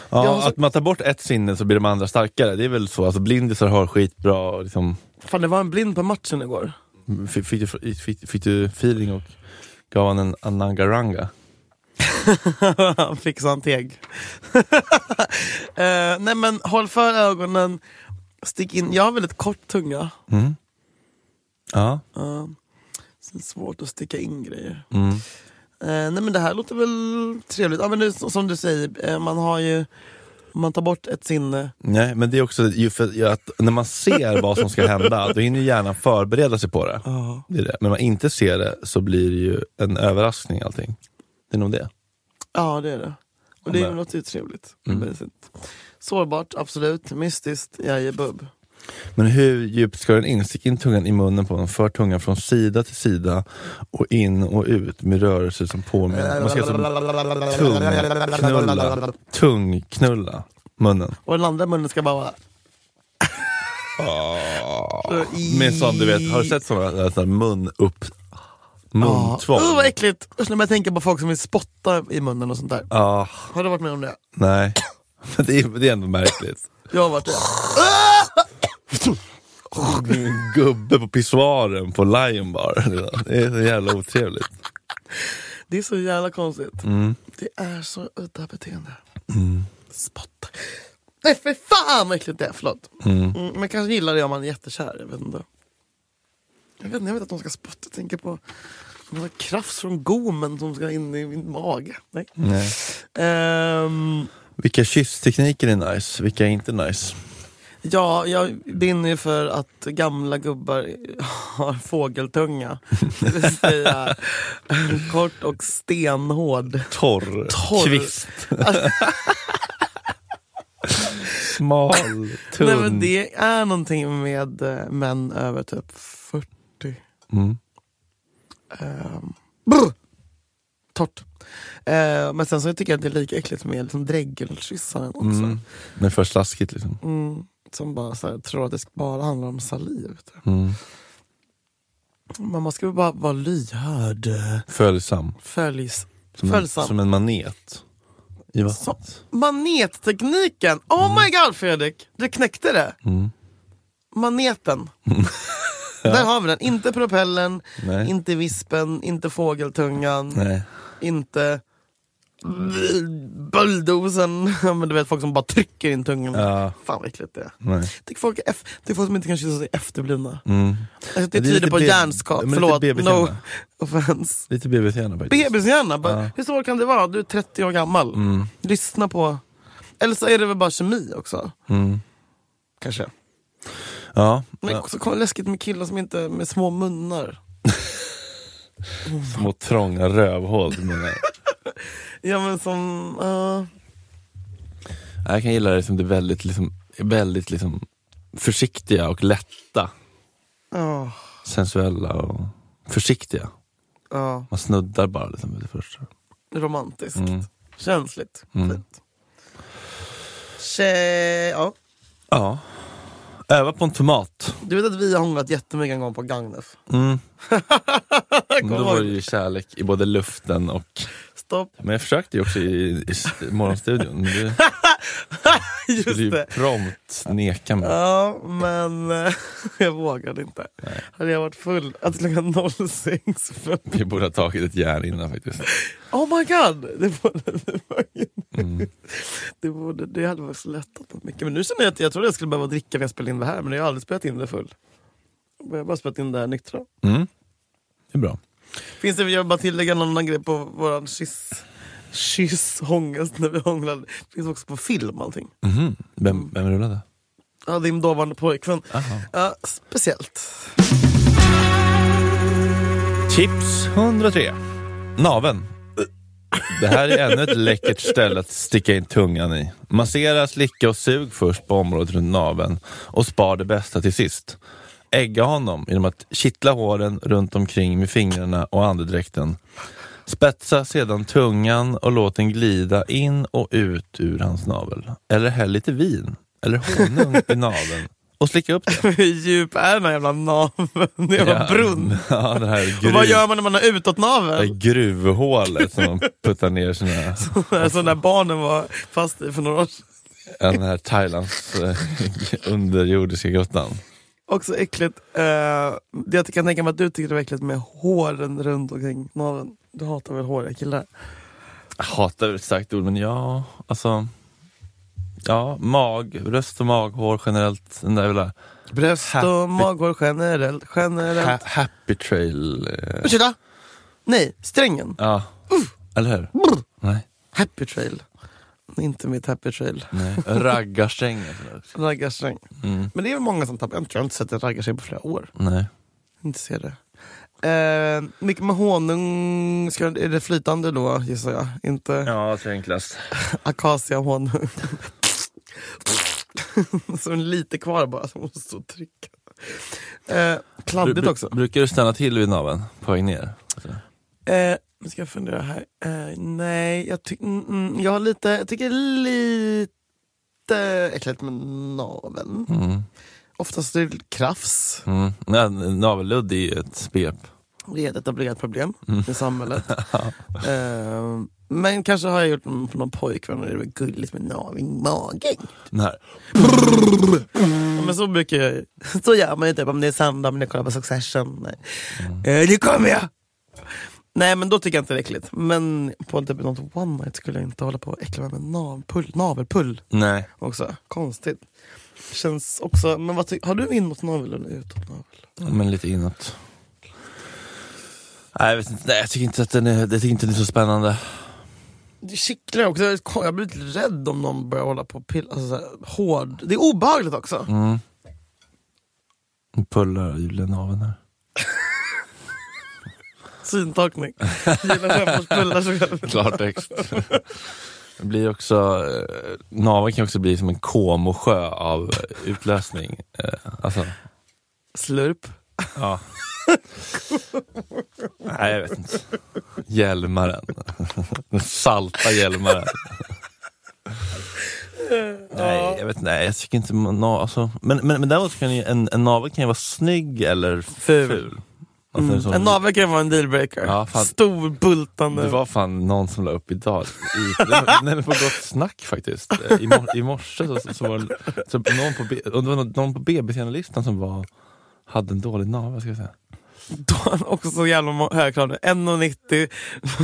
Speaker 1: Ja,
Speaker 2: Jag har så-
Speaker 1: att man tar bort ett sinne så blir de andra starkare. Det är väl så. Alltså, blindisar har skitbra... och Liksom,
Speaker 2: fan det var en blind på matchen igår.
Speaker 1: fick, fick, du, fick, fick du feeling och gav han en anangaranga?
Speaker 2: Han fick så han teg. Eh, nej men håll för ögonen. Stick in. Jag har väldigt kort tunga.
Speaker 1: Mm. Ja.
Speaker 2: Uh, det är svårt att sticka in grejer.
Speaker 1: Mm.
Speaker 2: Eh, nej men det här låter väl trevligt. Ja, men det, är så- som du säger, eh, man har ju om man tar bort ett sinne.
Speaker 1: Nej, men det är också ju för, ju att när man ser vad som ska hända, då hinner ju hjärnan förbereda sig på det. det, är det. Men när man inte ser det så blir det ju en överraskning allting. Det är nog det.
Speaker 2: Ja det är det. Och det
Speaker 1: Ja,
Speaker 2: är
Speaker 1: men-
Speaker 2: något ju trevligt.
Speaker 1: Mm.
Speaker 2: Mysigt. Sårbart, absolut. Mystiskt, jag ger bubb.
Speaker 1: Men hur djupt ska den in? Stick in tungan i munnen på den, för tungan från sida till sida och in och ut med rörelser som påminner. Man ska alltså Tungknulla. Tungknulla munnen.
Speaker 2: Och den andra munnen ska bara vara...
Speaker 1: Med sån, Ah. du vet, har du sett sådana där mun upp, muntvång?
Speaker 2: Usch vad äckligt! Usch, när man tänker på folk som vill spotta i munnen och sånt där.
Speaker 1: Ah,
Speaker 2: Har du varit med om det?
Speaker 1: nej. Men det, är, det är ändå märkligt.
Speaker 2: Jag har varit det.
Speaker 1: Det är En gubbe på pissoaren på Lion Bar. Det är så jävla otrevligt.
Speaker 2: Det är så jävla konstigt.
Speaker 1: Mm.
Speaker 2: Det är så udda beteende. Spotta. Nej för fan vad äckligt det är, förlåt.
Speaker 1: Mm.
Speaker 2: Mm, man kanske gillar det om man är jättekär, jag vet inte. Jag vet, inte, jag vet att de ska spotta, jag tänker på några krafs från gomen som ska in i min mage. Nej.
Speaker 1: Nej.
Speaker 2: Ehm,
Speaker 1: Vilka kysstekniker är nice? Vilka är inte nice?
Speaker 2: ja, jag brinner ju för att gamla gubbar har fågeltunga. Det vill säga kort och stenhård.
Speaker 1: Torr.
Speaker 2: Torr.
Speaker 1: Kvist. Smal. Tunn.
Speaker 2: Nej, men det är någonting med eh, män över typ 40.
Speaker 1: mm.
Speaker 2: Ehm, brr! Torrt. Eh, men sen så tycker jag att det är lika äckligt med liksom dräggelkyssaren också.
Speaker 1: Mm. Men för slaskigt liksom.
Speaker 2: Mm, som bara så här, tror att det bara handlar om saliv. vet du.
Speaker 1: Mm.
Speaker 2: Men man ska väl bara vara lyhörd. eh,
Speaker 1: Följsam.
Speaker 2: Följs.
Speaker 1: Som en,
Speaker 2: Följsam.
Speaker 1: som en manet. I
Speaker 2: Så.
Speaker 1: vattnet.
Speaker 2: Manettekniken! Oh my god Fredrik! Du knäckte det.
Speaker 1: Mm.
Speaker 2: Maneten. Där har vi den. Inte propellen,
Speaker 1: Nej.
Speaker 2: inte vispen, inte fågeltungan.
Speaker 1: Nej.
Speaker 2: inte bulldozern. Ja, men du vet folk som bara trycker in tungan.
Speaker 1: Ja.
Speaker 2: Fan vad äckligt det är.
Speaker 1: Nej.
Speaker 2: Tycker folk, är eff- tycker folk som inte kan kyssa sig efterblivna.
Speaker 1: Mm.
Speaker 2: Alltså, det
Speaker 1: är
Speaker 2: tyder
Speaker 1: lite
Speaker 2: på
Speaker 1: B-
Speaker 2: hjärnskap.
Speaker 1: men lite
Speaker 2: Förlåt,
Speaker 1: BB-hjärna.
Speaker 2: no offense.
Speaker 1: Lite bebishjärna faktiskt.
Speaker 2: Bebishjärna, bara,
Speaker 1: Ja.
Speaker 2: hur svår kan det vara? Du är 30 år gammal.
Speaker 1: Mm.
Speaker 2: Lyssna på... Eller så är det väl bara kemi också.
Speaker 1: Mm.
Speaker 2: Kanske.
Speaker 1: Ja.
Speaker 2: Men
Speaker 1: ja.
Speaker 2: också kom- läskigt med killar som inte med små munnar.
Speaker 1: Små trånga rövhål. menar jag.
Speaker 2: Ja men som... ja.
Speaker 1: jag kan gilla det som det är väldigt, liksom, väldigt liksom, försiktiga och lätta.
Speaker 2: ja,
Speaker 1: Sensuella och försiktiga.
Speaker 2: ja.
Speaker 1: Man snuddar bara liksom, vid det första.
Speaker 2: romantiskt.
Speaker 1: Mm.
Speaker 2: Känsligt.
Speaker 1: Mm.
Speaker 2: Fint. Tje- ja.
Speaker 1: Ja. Öva på en tomat.
Speaker 2: Du vet att vi har hånglat jättemycket en gång på Gagnef.
Speaker 1: Mm.
Speaker 2: Kommer
Speaker 1: Då
Speaker 2: du
Speaker 1: var det
Speaker 2: ihåg?
Speaker 1: ju kärlek i både luften och...
Speaker 2: Stopp.
Speaker 1: Men jag försökte ju också i, i st- morgonstudion. men Du skulle
Speaker 2: Just
Speaker 1: ju
Speaker 2: det.
Speaker 1: prompt neka mig.
Speaker 2: Ja, men eh, jag vågade inte. Hade jag varit full att klockan 06. för-
Speaker 1: Vi borde ha tagit ett järn innan faktiskt.
Speaker 2: Oh my god! Det borde, det borde,
Speaker 1: Mm.
Speaker 2: det borde, det hade faktiskt lättat något mycket. Men nu känner jag att jag trodde jag skulle behöva dricka när jag spelade in det här, men jag har aldrig spelat in det full. Jag har bara spelat in det här nyktra.
Speaker 1: Mm. Det är bra.
Speaker 2: Finns det, jag vill bara tillägga någon annan grej på våran kyss, kyss hångest när vi hånglade. Finns också på film allting.
Speaker 1: Mhm. Vem, vem rullade?
Speaker 2: Ja, din dåvarande pojkvän.
Speaker 1: Aha.
Speaker 2: Ja, speciellt.
Speaker 1: Tips 103. Naven. Det här är ännu ett läckert ställe att sticka in tungan i. Massera, slicka och sug först på området runt naveln och spar det bästa till sist. Ägga honom genom att kittla håren runt omkring med fingrarna och andedräkten. Spetsa sedan tungan och låt den glida in och ut ur hans navel. Eller häll lite vin eller honung i naveln och slicka upp det.
Speaker 2: Hur djup är den här jävla naveln? Det är en brunn.
Speaker 1: Ja, den här
Speaker 2: Och vad
Speaker 1: grymt-
Speaker 2: gör man när man har utåt
Speaker 1: det
Speaker 2: naveln?
Speaker 1: gruvhålet som man puttar ner sina,
Speaker 2: Alltså när barnen var fast i för några år sedan.
Speaker 1: den här Thailands eh, underjordiska grottan.
Speaker 2: Också äckligt. Eh, det jag kan tänka mig att du tycker det var äckligt med håren runt omkring naveln. Du hatar väl håriga killar?
Speaker 1: Jag hatar ett starkt ord, men ja, alltså. Ja, mag, röst och maghår generellt. Den där lilla
Speaker 2: Bröst
Speaker 1: Happy-
Speaker 2: och magor generellt. generellt.
Speaker 1: ha- happy trail. Eh,
Speaker 2: Ursäkta? Nej, strängen.
Speaker 1: ja, eller hur? Nej,
Speaker 2: Happy trail. Inte mitt happy trail.
Speaker 1: nej. Raggarsträng. och sådär.
Speaker 2: Raggarsträng.
Speaker 1: Mm,
Speaker 2: Men det är väl många som tappar. Jag tror jag har inte sett en raggarsträng på flera år.
Speaker 1: nej.
Speaker 2: Inte ser det. Eh, mycket med honung. Ska, är det flytande då gissar jag? Inte
Speaker 1: Ja, så enklast.
Speaker 2: akacia honung. så är det lite kvar bara som måste stå och trycka. Eh, kladdigt också.
Speaker 1: Brukar du stanna till vid naveln på väg ner?
Speaker 2: Eh, nu ska jag fundera här. Eh, nej, jag, ty- mm, mm, jag har lite, jag tycker lite äckligt med naveln.
Speaker 1: Mm.
Speaker 2: Oftast är det krafs.
Speaker 1: Mm. Nej, Navelludd är ju ett svep.
Speaker 2: Det är ett etablerat problem
Speaker 1: Mm.
Speaker 2: i samhället. eh, men kanske har jag gjort det på någon pojkvän och det är väl gulligt med navel i magen.
Speaker 1: Den här.
Speaker 2: Ja, men så brukar jag ju- Så gör man ju typ om det är söndag men jag kollar på Succession. Nej. Eh, nu kommer jag! Nej men då tycker jag inte det är äckligt. Men på typ något one night skulle jag inte hålla på och äckla mig med navelpull, navelpull
Speaker 1: Nej.
Speaker 2: också. Konstigt. Känns också, men vad ty- har du inåt navel eller utåt navel?
Speaker 1: Men lite inåt. Nej, jag vet inte. Nej, jag tycker inte att den är, jag tycker inte den är så spännande.
Speaker 2: Det kittlar också, jag blir lite rädd om någon börjar hålla på och pilla, alltså så här, hård. Det är obehagligt också.
Speaker 1: Mm. Nu pullar julen av den här.
Speaker 2: Syntakning. Gillar skämtpullar så själv.
Speaker 1: Klartext. Det blir också, eh, naveln kan också bli som en komosjö av utlösning. Eh, Alltså,
Speaker 2: Slurp.
Speaker 1: ja. Nej, jag vet inte. Hjälmaren. Den salta hjälmaren. Nej, jag vet inte. Nej, jag tycker inte man- na, alltså. men, men, men däremot kan ju en, en navel kan ju vara snygg eller ful.
Speaker 2: Ful.
Speaker 1: Alltså,
Speaker 2: Mm.
Speaker 1: som-
Speaker 2: En navel kan vara en dealbreaker.
Speaker 1: Ja, fan.
Speaker 2: Stor, bultande.
Speaker 1: Det var fan någon som la upp idag, i, den är på Gott Snack faktiskt. Eh, I, mor- i morse så, så var det- så någon på, B- och det var någon- någon på BBC-listan som var, hade en dålig navel ska jag säga.
Speaker 2: Då har han också så jävla må- hög krav nu. 1,90.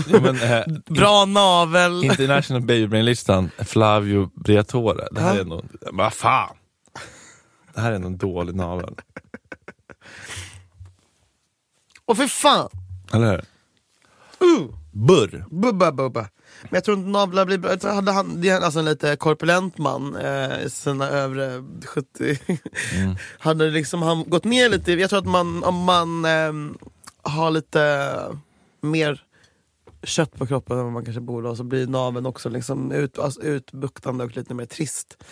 Speaker 1: Ja, men, eh,
Speaker 2: Bra navel.
Speaker 1: International Baby Brain-listan, Flavio Briatore. Det här
Speaker 2: Ja.
Speaker 1: är nog, vad fan! Det här är nog en dålig navel.
Speaker 2: Och för fan!
Speaker 1: Eller hur?
Speaker 2: Uh,
Speaker 1: Burr.
Speaker 2: bubba bubba. Men jag tror inte navlar blir bra. Jag tror Hade han, det är alltså en lite korpulent man eh, i sina övre 70. Hade liksom han gått ner lite. Jag tror att man, om man ehm, har lite mer kött på kroppen än vad man kanske borde ha så blir naveln också liksom ut, alltså utbuktande och lite mer trist.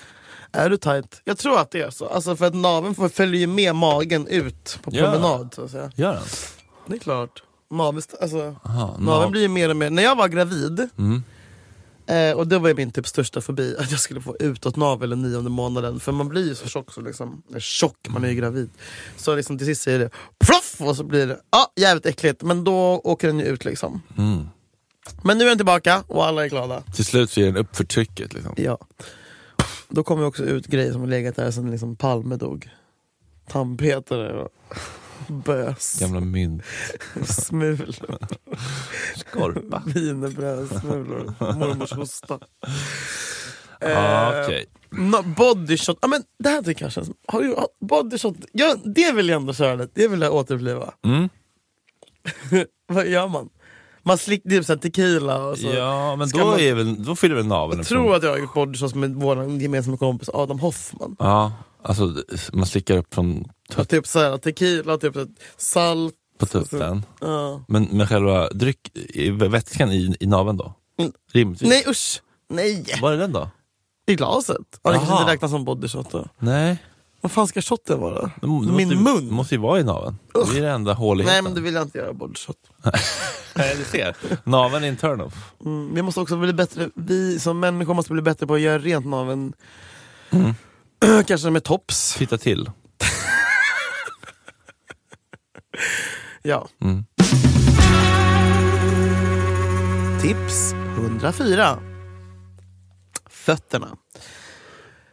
Speaker 2: Är du tight? Jag tror att det är så. Alltså för att naveln får- följer ju med magen ut på
Speaker 1: Ja.
Speaker 2: promenad. Så att säga.
Speaker 1: Gör han?
Speaker 2: Det är klart. Naveln, st- alltså,
Speaker 1: Aha,
Speaker 2: naveln
Speaker 1: nav-
Speaker 2: blir ju mer och mer... När jag var gravid,
Speaker 1: Mm.
Speaker 2: eh, och det var ju min typ största fobi, att jag skulle få utåt navel den nionde månaden. För man blir ju så tjock, så liksom, eller tjock, man är ju gravid. Så liksom till sist säger det ploff och så blir det ah, jävligt äckligt. Men då åker den ju ut liksom.
Speaker 1: Mm.
Speaker 2: Men nu är den tillbaka och alla är glada.
Speaker 1: Till slut så ger den upp för trycket liksom.
Speaker 2: Ja. Då kommer ju också ut grejer som har legat där sedan liksom Palme dog. Tandpetare och bös,
Speaker 1: Gamla mynt.
Speaker 2: smul.
Speaker 1: Skorpa.
Speaker 2: Wienerbrödsmulor, mormors
Speaker 1: Ah,
Speaker 2: hosta. Eh,
Speaker 1: Okej.
Speaker 2: no, body shot. Ja, men det här tycker jag känns... Har du, har, body shot. Ja, det vill jag ändå köra lite, det vill jag återuppliva.
Speaker 1: Mm.
Speaker 2: Vad gör man? Man slickar typ så här tequila och så.
Speaker 1: Ja, men
Speaker 2: Ska
Speaker 1: då,
Speaker 2: man-
Speaker 1: är väl, då fyller väl naveln
Speaker 2: jag
Speaker 1: upp
Speaker 2: tror att jag har gjort body shots med vår gemensamma kompis Adam Hoffman.
Speaker 1: Ja, alltså man slickar upp från
Speaker 2: Och
Speaker 1: tut-
Speaker 2: typ så här, tequila, typ så här, salt.
Speaker 1: på tutten.
Speaker 2: ja.
Speaker 1: Men, men själva dryck, i- vätskan i, i naveln då?
Speaker 2: Mm.
Speaker 1: Rimligtvis.
Speaker 2: Nej usch! Nej!
Speaker 1: Var är den då?
Speaker 2: I glaset. Ja, det kanske
Speaker 1: Aha.
Speaker 2: inte räknas som body shot då.
Speaker 1: Nej.
Speaker 2: Vad fan ska shoten vara?
Speaker 1: det må- det
Speaker 2: Min
Speaker 1: måste, ju-
Speaker 2: mun.
Speaker 1: Det måste ju vara i naveln. Det är det enda håligheten.
Speaker 2: Nej men du vill jag inte göra body shot.
Speaker 1: Nej, du ser. Naveln är en turn-off.
Speaker 2: Mm, vi måste också bli bättre, vi som människor måste bli bättre på att göra rent naveln. Kanske med tops.
Speaker 1: Titta till.
Speaker 2: Ja.
Speaker 1: Mm.
Speaker 2: Tips 104. Fötterna.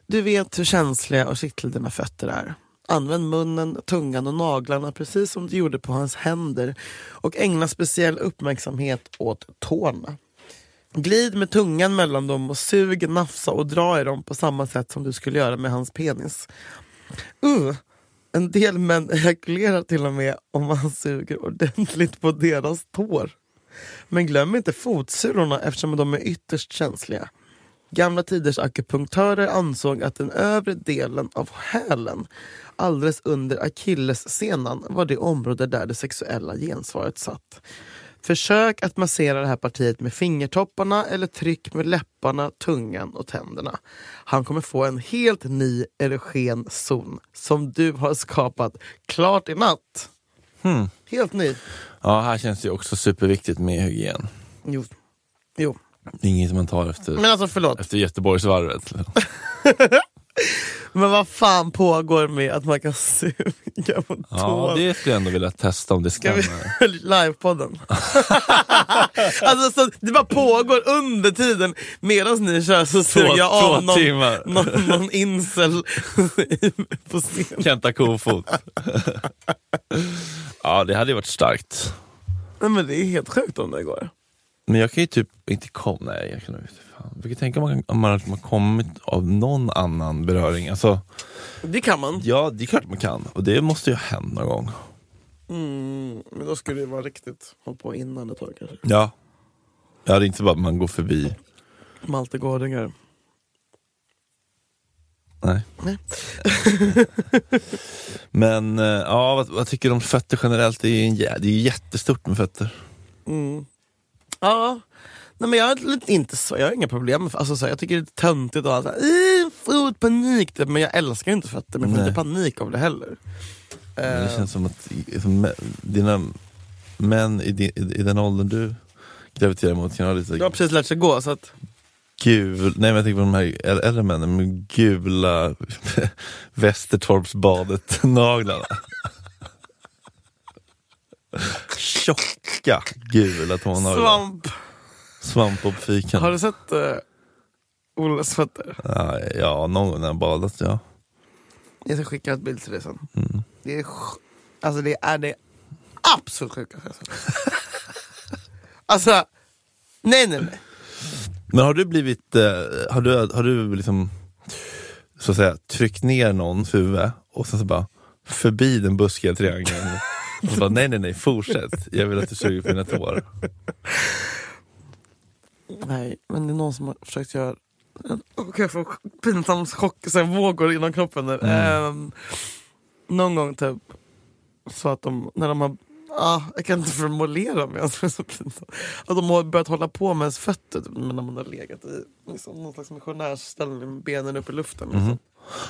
Speaker 2: Du vet hur känsliga och kittliga dina fötter är. Använd munnen, tungan och naglarna precis som du gjorde på hans händer och ägna speciell uppmärksamhet åt tårna. Glid med tungan mellan dem och sug, nafsa och dra i dem på samma sätt som du skulle göra med hans penis. Uh, en del män ejakulerar till och med om man suger ordentligt på deras tår. Men glöm inte fotsulorna eftersom de är ytterst känsliga. Gamla tiders akupunktörer ansåg att den övre delen av hälen, alldeles under akillessenan, var det område där det sexuella gensvaret satt. Försök att massera det här partiet med fingertopparna eller tryck med läpparna, tungan och tänderna. Han kommer få en helt ny erogen zon som du har skapat klart i natt.
Speaker 1: Hmm.
Speaker 2: Helt ny.
Speaker 1: Ja, här känns det ju också superviktigt med hygien.
Speaker 2: Jo. jo.
Speaker 1: Det är inget man tar efter,
Speaker 2: Men alltså förlåt.
Speaker 1: efter Göteborgsvarvet.
Speaker 2: Men vad fan pågår med att man kan suga på
Speaker 1: Ja,
Speaker 2: tån?
Speaker 1: det skulle jag ändå vilja testa om det
Speaker 2: Ska vi
Speaker 1: stämmer.
Speaker 2: livepodden? alltså så det bara pågår under tiden medan ni kör så suger jag
Speaker 1: två
Speaker 2: av någon,
Speaker 1: timmar.
Speaker 2: någon, någon incel på scen.
Speaker 1: Kenta Kofot. ja, det hade ju varit starkt.
Speaker 2: Nej, men det är helt sjukt om det går.
Speaker 1: Men jag kan ju typ inte komma... Nej, jag kan nog inte. Fan. Jag kan tänka om man, om man har kommit av någon annan beröring. Alltså,
Speaker 2: Det kan man.
Speaker 1: ja, det är klart man kan. Och det måste ju ha hänt någon gång.
Speaker 2: Mm, men då skulle det vara riktigt. Håll på innan ett tag kanske.
Speaker 1: Ja. Ja, det är inte bara att man går förbi.
Speaker 2: Malte Gårdinger.
Speaker 1: Nej.
Speaker 2: Nej.
Speaker 1: Men eh, ja, vad, vad tycker du om fötter generellt? Det är ju, en, jä- det är ju jättestort med fötter.
Speaker 2: Mm. Ja. Nej, men jag, är lite, inte så, jag har inga problem med alltså, så, här, Jag tycker det är töntigt och allt så här, "Ih, fot, panik. typ. Men jag älskar ju inte fötter, men jag får
Speaker 1: Nej.
Speaker 2: inte panik av det heller.
Speaker 1: Men Det
Speaker 2: Eh,
Speaker 1: känns som att i- som mä- dina män i, din, i den åldern du graviterar mot kan ha lite
Speaker 2: jag har precis lärt sig gå, så att,
Speaker 1: gul, nej men jag tänker på de här äl- äldre männen med gula Västertorpsbadet naglarna. Tjocka gula tånaglar.
Speaker 2: svamp.
Speaker 1: Svamp på fiken.
Speaker 2: Har du sett uh, Olles fötter?
Speaker 1: Ja, ja, någon gång när jag badat ja.
Speaker 2: Jag ska skicka ett bild till dig sen.
Speaker 1: Mm.
Speaker 2: Det är, sj- alltså det är det absolut sjukaste jag sett. Alltså, nej nej nej.
Speaker 1: Men har du blivit, eh, har du, har du liksom, så att säga, tryckt ner någons huvud och sen så bara förbi den buskiga triangeln? Och så bara, nej nej nej, fortsätt. Jag vill att du suger på mina tår.
Speaker 2: Nej, men det är någon som har försökt göra en- och jag får pinsam chock, så här vågor inom kroppen. nu. Ehm, någon gång typ, så att de, när de har, ah, jag kan inte formulera mig alltså, det är så pinsamt. Att de har börjat hålla på med ens fötter typ, när man har legat i liksom, någon slags missionärsställning med benen upp i luften. Liksom.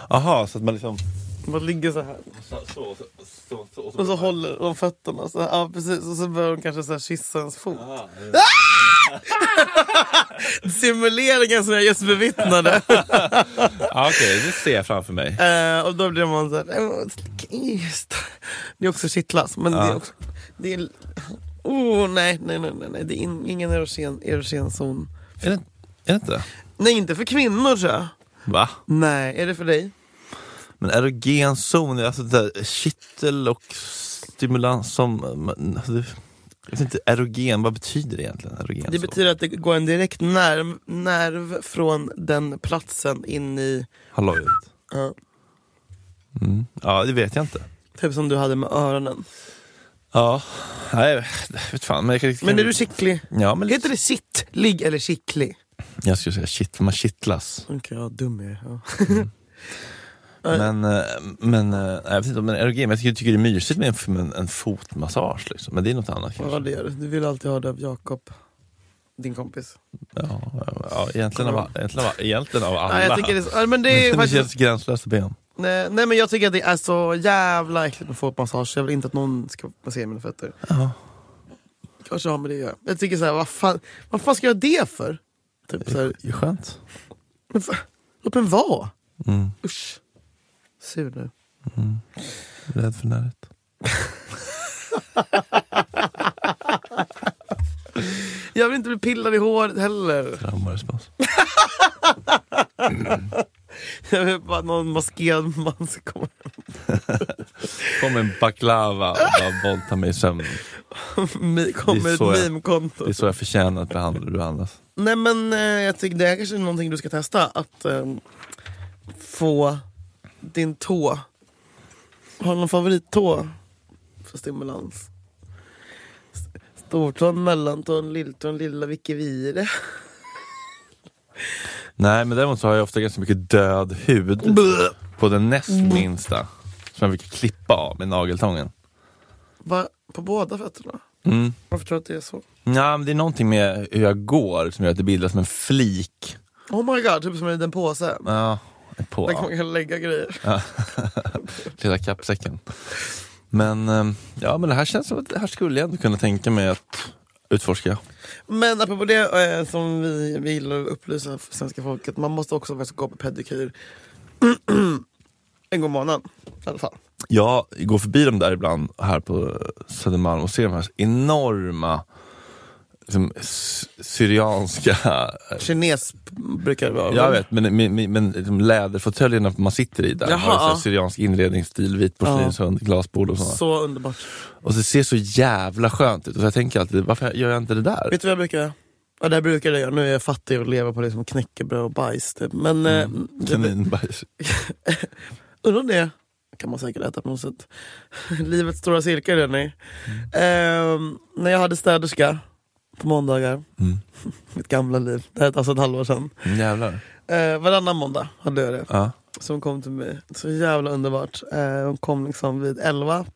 Speaker 1: Jaha, så att man liksom...
Speaker 2: Man ligger så här.
Speaker 1: Så, så, så, så, så,
Speaker 2: Och så håller de fötterna så här, ja, precis. Och så börjar de kanske så här kyssa ens fot. Simuleringen som jag just bevittnade.
Speaker 1: Ja, Ah, Okej, det ser jag framför mig.
Speaker 2: Eh, och då blir man så här... "Åh, Just. Det är också kittlas. Men det är
Speaker 1: Ja.
Speaker 2: också... Det är, oh, nej, nej, nej, nej, nej. Det är in, ingen erogen, erogen zon.
Speaker 1: Är det, är det inte det?
Speaker 2: Nej, inte för kvinnor tror jag.
Speaker 1: Va?
Speaker 2: Nej, är det för dig?
Speaker 1: Men erogen zon, alltså det där kittel och stimulans som... men, Alltså, det- jag vet inte, erogen, vad betyder det egentligen? Erogen
Speaker 2: Det
Speaker 1: zon?
Speaker 2: betyder att det går en direkt nerv, nerv från den platsen in i...
Speaker 1: Hallojet.
Speaker 2: ja,
Speaker 1: Mm. Ja, det vet jag inte.
Speaker 2: typ som du hade med öronen.
Speaker 1: Ja, nej, jag vet fan. Men, jag kan,
Speaker 2: Men är du kittlig?
Speaker 1: Ja, men
Speaker 2: Heter det sittlig eller kittlig?
Speaker 1: Jag skulle säga kitt, man kittlas.
Speaker 2: Okej, okay, ja, dum är jag. Ja. Nej.
Speaker 1: Men, eh, men, eh, jag vet inte, men erogen, men jag tycker, tycker det är mysigt med en, med en- en fotmassage liksom. Men det är något annat kanske.
Speaker 2: ja, det gör du. Du vill alltid ha det av Jakob, din kompis.
Speaker 1: Ja, ja, ja, egentligen, av, egentligen, av, egentligen av alla.
Speaker 2: Nej, jag tycker det är, så- ja, men det är
Speaker 1: det
Speaker 2: faktiskt,
Speaker 1: känns gränslöst att be om.
Speaker 2: nej, nej, men jag tycker att det är så jävla äckligt med fotmassage. Jag vill inte att någon ska massera mina fötter.
Speaker 1: Ja.
Speaker 2: Kanske har med det att göra. Jag tycker såhär, vad fan, vad fan ska jag ha det för? Typ så här,
Speaker 1: Det är skönt.
Speaker 2: men, fa- låt mig vara.
Speaker 1: Mm,
Speaker 2: Usch. Sur nu.
Speaker 1: rädd för närhet.
Speaker 2: Jag vill inte bli pillad i håret heller.
Speaker 1: Traumarespons.
Speaker 2: Jag vill bara att någon maskerad man ska komma
Speaker 1: Kom en baklava och bara våldta mig i sömnen.
Speaker 2: Mi- kommer
Speaker 1: Det är
Speaker 2: ett
Speaker 1: så jag-
Speaker 2: meme-konto.
Speaker 1: Det är så jag förtjänar att behandla- behandlas.
Speaker 2: Nej men eh, jag tycker det här kanske är någonting du ska testa. Att ehm, få din tå. Har du någon favorittå för stimulans? S- Stortån, mellantån, lilltån, lilla, vilken vi är det?
Speaker 1: Nej, men däremot så har jag ofta ganska mycket död hud. på den näst
Speaker 2: Mm.
Speaker 1: minsta som jag fick klippa av med nageltången.
Speaker 2: Va? På båda fötterna?
Speaker 1: Mm.
Speaker 2: Varför tror du att det är så?
Speaker 1: Ja, men det är någonting med hur jag går som gör att det bildas som en flik.
Speaker 2: Oh my god, typ som en liten påse.
Speaker 1: Ja, på
Speaker 2: Där kan man kan lägga grejer.
Speaker 1: lilla kappsäcken. Men, ehm, ja, men det här känns som att det här skulle jag ändå kunna tänka mig att utforska.
Speaker 2: Men apropå det eh, som vi vill upplysa för svenska folket. Man måste också faktiskt gå på pedikyr. en gång i månaden i alla fall.
Speaker 1: Jag går förbi dem där ibland här på Södermalm och ser de här enorma liksom, sy- syrianska
Speaker 2: Kines brukar det vara.
Speaker 1: Jag vet, men, men, men, men liksom läderfåtöljerna man sitter i där
Speaker 2: Jaha,
Speaker 1: har så här
Speaker 2: ja.
Speaker 1: syriansk inredningsstil, vit porslinshund, glasbord och sådana.
Speaker 2: Så underbart.
Speaker 1: Och det ser så jävla skönt ut. Och så jag tänker alltid, varför gör jag inte det där?
Speaker 2: Vet du vad jag brukar göra? Ja, det här brukar jag göra. Nu är jag fattig och lever på liksom knäckebröd och bajs. Typ. Men eh, jag,
Speaker 1: Kaninbajs.
Speaker 2: undrar om det kan man säkert äta på något sätt. Livets stora cirkel är ni. Ehm, när jag hade städerska på måndagar,
Speaker 1: Mm.
Speaker 2: mitt gamla liv, det här är alltså ett halvår sedan.
Speaker 1: Mm, Jävlar.
Speaker 2: Eh, varannan måndag hade jag det.
Speaker 1: Ja.
Speaker 2: som kom till mig. Så jävla underbart. Eh, hon kom liksom vid 11.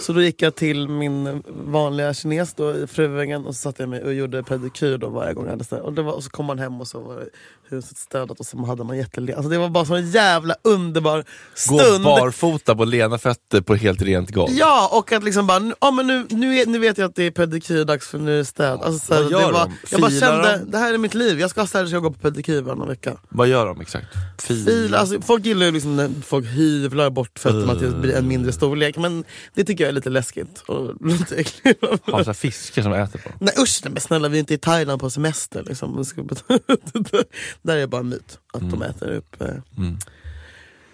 Speaker 2: Så då gick jag till min vanliga kines då i Fruängen och så satte jag mig och gjorde pedikyr då varje gång jag hade sådär. Och, det var, och så kom man hem och så var det huset städat och så hade man jättelent. Alltså det var bara så en jävla underbar
Speaker 1: Gå
Speaker 2: stund.
Speaker 1: barfota på lena fötter på helt rent golv.
Speaker 2: Ja, och att liksom bara, nu- ja men nu, nu, är- nu vet jag att det är pedikyrdags för nu är det städ. Alltså, så här,
Speaker 1: Vad gör
Speaker 2: det var,
Speaker 1: de?
Speaker 2: jag bara
Speaker 1: Filar
Speaker 2: kände,
Speaker 1: de?
Speaker 2: det här är mitt liv. Jag ska ha städat så jag går på pedikyr varannan vecka.
Speaker 1: Vad gör de exakt? Fil.
Speaker 2: Fil, alltså, folk gillar ju liksom när folk hyvlar bort fötterna till att bli en mindre storlek. Men det tycker jag är lite läskigt. Och lite äckligt.
Speaker 1: Har så här fiskar som äter på dem.
Speaker 2: Nej usch, nej, men snälla vi är inte i Thailand på semester. Liksom. Vi ska Där är det bara en myt att de äter upp. eh.
Speaker 1: Mm.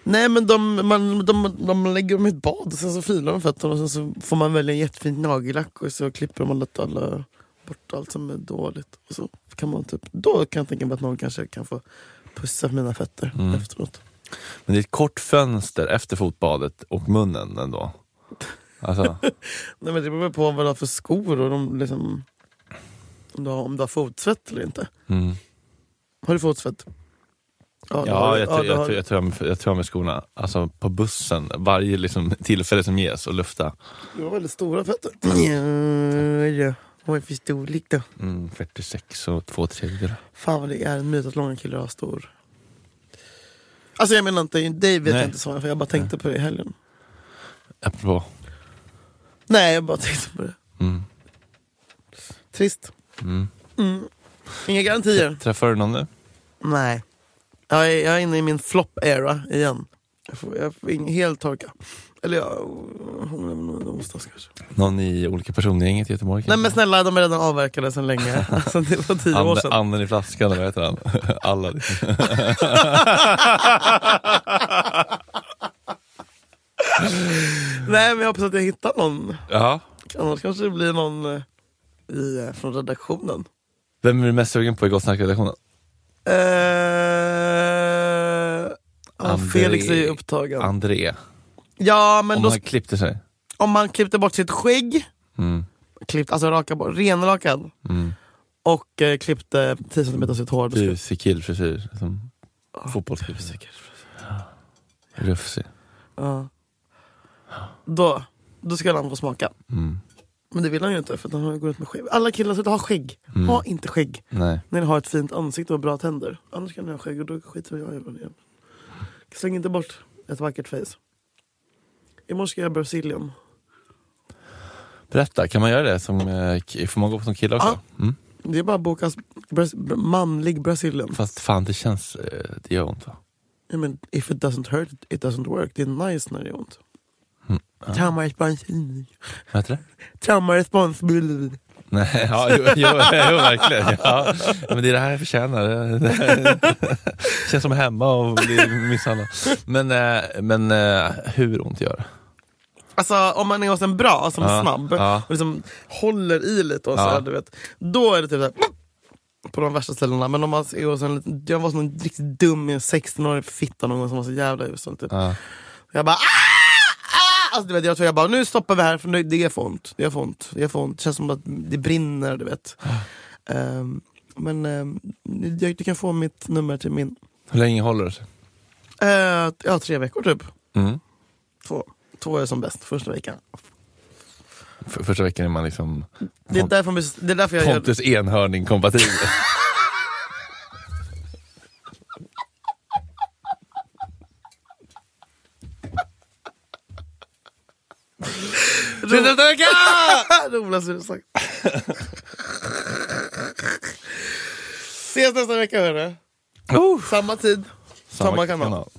Speaker 2: Nej men de, man, de, de lägger dem i ett bad och sen så filar de fötterna och sen så får man välja en jättefin nagellack och så klipper de alla, alla, bort allt som är dåligt. Och så kan man typ, då kan jag tänka mig att någon kanske kan få pussa mina fötter efteråt.
Speaker 1: Men det är ett kort fönster efter fotbadet och munnen ändå. Alltså,
Speaker 2: Nej men det beror väl på vad du har för skor och de liksom, om, du har, om du har fotsvett eller inte.
Speaker 1: mm.
Speaker 2: Har du fotsvett? det har
Speaker 1: Ja,
Speaker 2: du.
Speaker 1: jag, tror,
Speaker 2: det
Speaker 1: jag,
Speaker 2: har
Speaker 1: tror,
Speaker 2: du.
Speaker 1: jag, tror, jag, jag tror jag med skorna. Alltså på bussen, varje liksom, tillfälle som ges och lufta.
Speaker 2: Du har väldigt stora fötter. Ja, ja. Vad är det för storlek då?
Speaker 1: Mm, 46 och två tredjedelar.
Speaker 2: Fan vad det är en myt att långa killar har stor. Alltså jag menar inte, dig vet
Speaker 1: Nej.
Speaker 2: jag inte svara för jag bara tänkte på det i helgen.
Speaker 1: Apropå.
Speaker 2: Nej jag bara tänkte på det.
Speaker 1: Mm.
Speaker 2: Trist.
Speaker 1: Mm.
Speaker 2: Mm. Inga garantier.
Speaker 1: Träffar du någon nu?
Speaker 2: Nej. Jag är, jag är inne i min flop-era igen. Jag får, jag får ing, helt torka. Eller jag hånglar med någon i onsdags kanske.
Speaker 1: Någon i olika persongänget i Göteborg?
Speaker 2: Nej
Speaker 1: kanske?
Speaker 2: men snälla, de är redan avverkade sedan länge. Alltså, det var tio år
Speaker 1: Ande,
Speaker 2: sedan.
Speaker 1: anden i flaskan, eller vad heter han? Alla.
Speaker 2: Nej men jag hoppas att jag hittar någon.
Speaker 1: Ja.
Speaker 2: Annars kanske det blir någon eh, i, eh, från redaktionen.
Speaker 1: Vem är du mest sugen på i Gott snack-redaktionen?
Speaker 2: Eh, ja,
Speaker 1: André-
Speaker 2: Felix är ju upptagen.
Speaker 1: André.
Speaker 2: ja men
Speaker 1: Om
Speaker 2: då,
Speaker 1: han klippte sig.
Speaker 2: om man klippte bort sitt skägg,
Speaker 1: Mm.
Speaker 2: klippt, alltså raka bort, renrakad
Speaker 1: Mm.
Speaker 2: och eh, klippte 10 cm sitt hår. då skulle-
Speaker 1: Busikillfrisyr. Som
Speaker 2: Ah,
Speaker 1: fotbollskille. Rufsig.
Speaker 2: Ja. Då, då ska han få smaka.
Speaker 1: Mm.
Speaker 2: Men det vill han ju inte för att han har- går ut med skägg. Alla killar ska ha skägg.
Speaker 1: Mm.
Speaker 2: Ha inte skägg.
Speaker 1: Nej.
Speaker 2: När ni har ett fint ansikte och bra tänder. Annars kan ni ha skägg och då skiter jag i vad ni gör. Släng inte bort ett vackert face. Imorgon ska jag göra Brazilian.
Speaker 1: Berätta, kan man göra det? Som, eh, k- får man gå som kille också? Mm.
Speaker 2: Det är bara att boka bras- br- manlig Brazilian.
Speaker 1: Fast fan det känns, eh, det gör ont va?
Speaker 2: I mean, if it doesn't hurt, it doesn't work. Det är nice när det gör ont. Traumarespons.
Speaker 1: Vad heter det?
Speaker 2: Traumarespons.
Speaker 1: Nej, ja, jo, jo, jo verkligen. Ja. Men det är det här jag förtjänar. Det här- känns som hemma och blir misshandlad. Men, eh, men eh, hur ont gör det?
Speaker 2: Alltså om man är hos en bra som
Speaker 1: Ja,
Speaker 2: är snabb
Speaker 1: ja.
Speaker 2: och liksom håller i lite och så,
Speaker 1: Ja.
Speaker 2: här, du vet. Då är det typ såhär på de värsta ställena. Men om man är hos en liten, jag var som en riktigt dum 16-årig fitta någon gång som var så jävla usel. Typ.
Speaker 1: Ja.
Speaker 2: Jag bara "Ah! Ah!" Alltså, du vet, jag tror jag bara, nu stoppar vi här för nu, det är för ont. Det är för ont. Det är för ont. Det känns som att det brinner, du vet. Ehm, men ehm, du, du kan få mitt nummer till min.
Speaker 1: Hur länge håller det sig?
Speaker 2: Eh, ja, tre veckor typ.
Speaker 1: Mm.
Speaker 2: Två. Två är som bäst, första veckan.
Speaker 1: För, första veckan är man liksom
Speaker 2: Det är
Speaker 1: Pont-
Speaker 2: därför, man- det är därför jag gör...
Speaker 1: Pontus enhörning kompatibel.
Speaker 2: Roligast du sagt. Ses nästa vecka hörru. Samma tid, samma, kanal.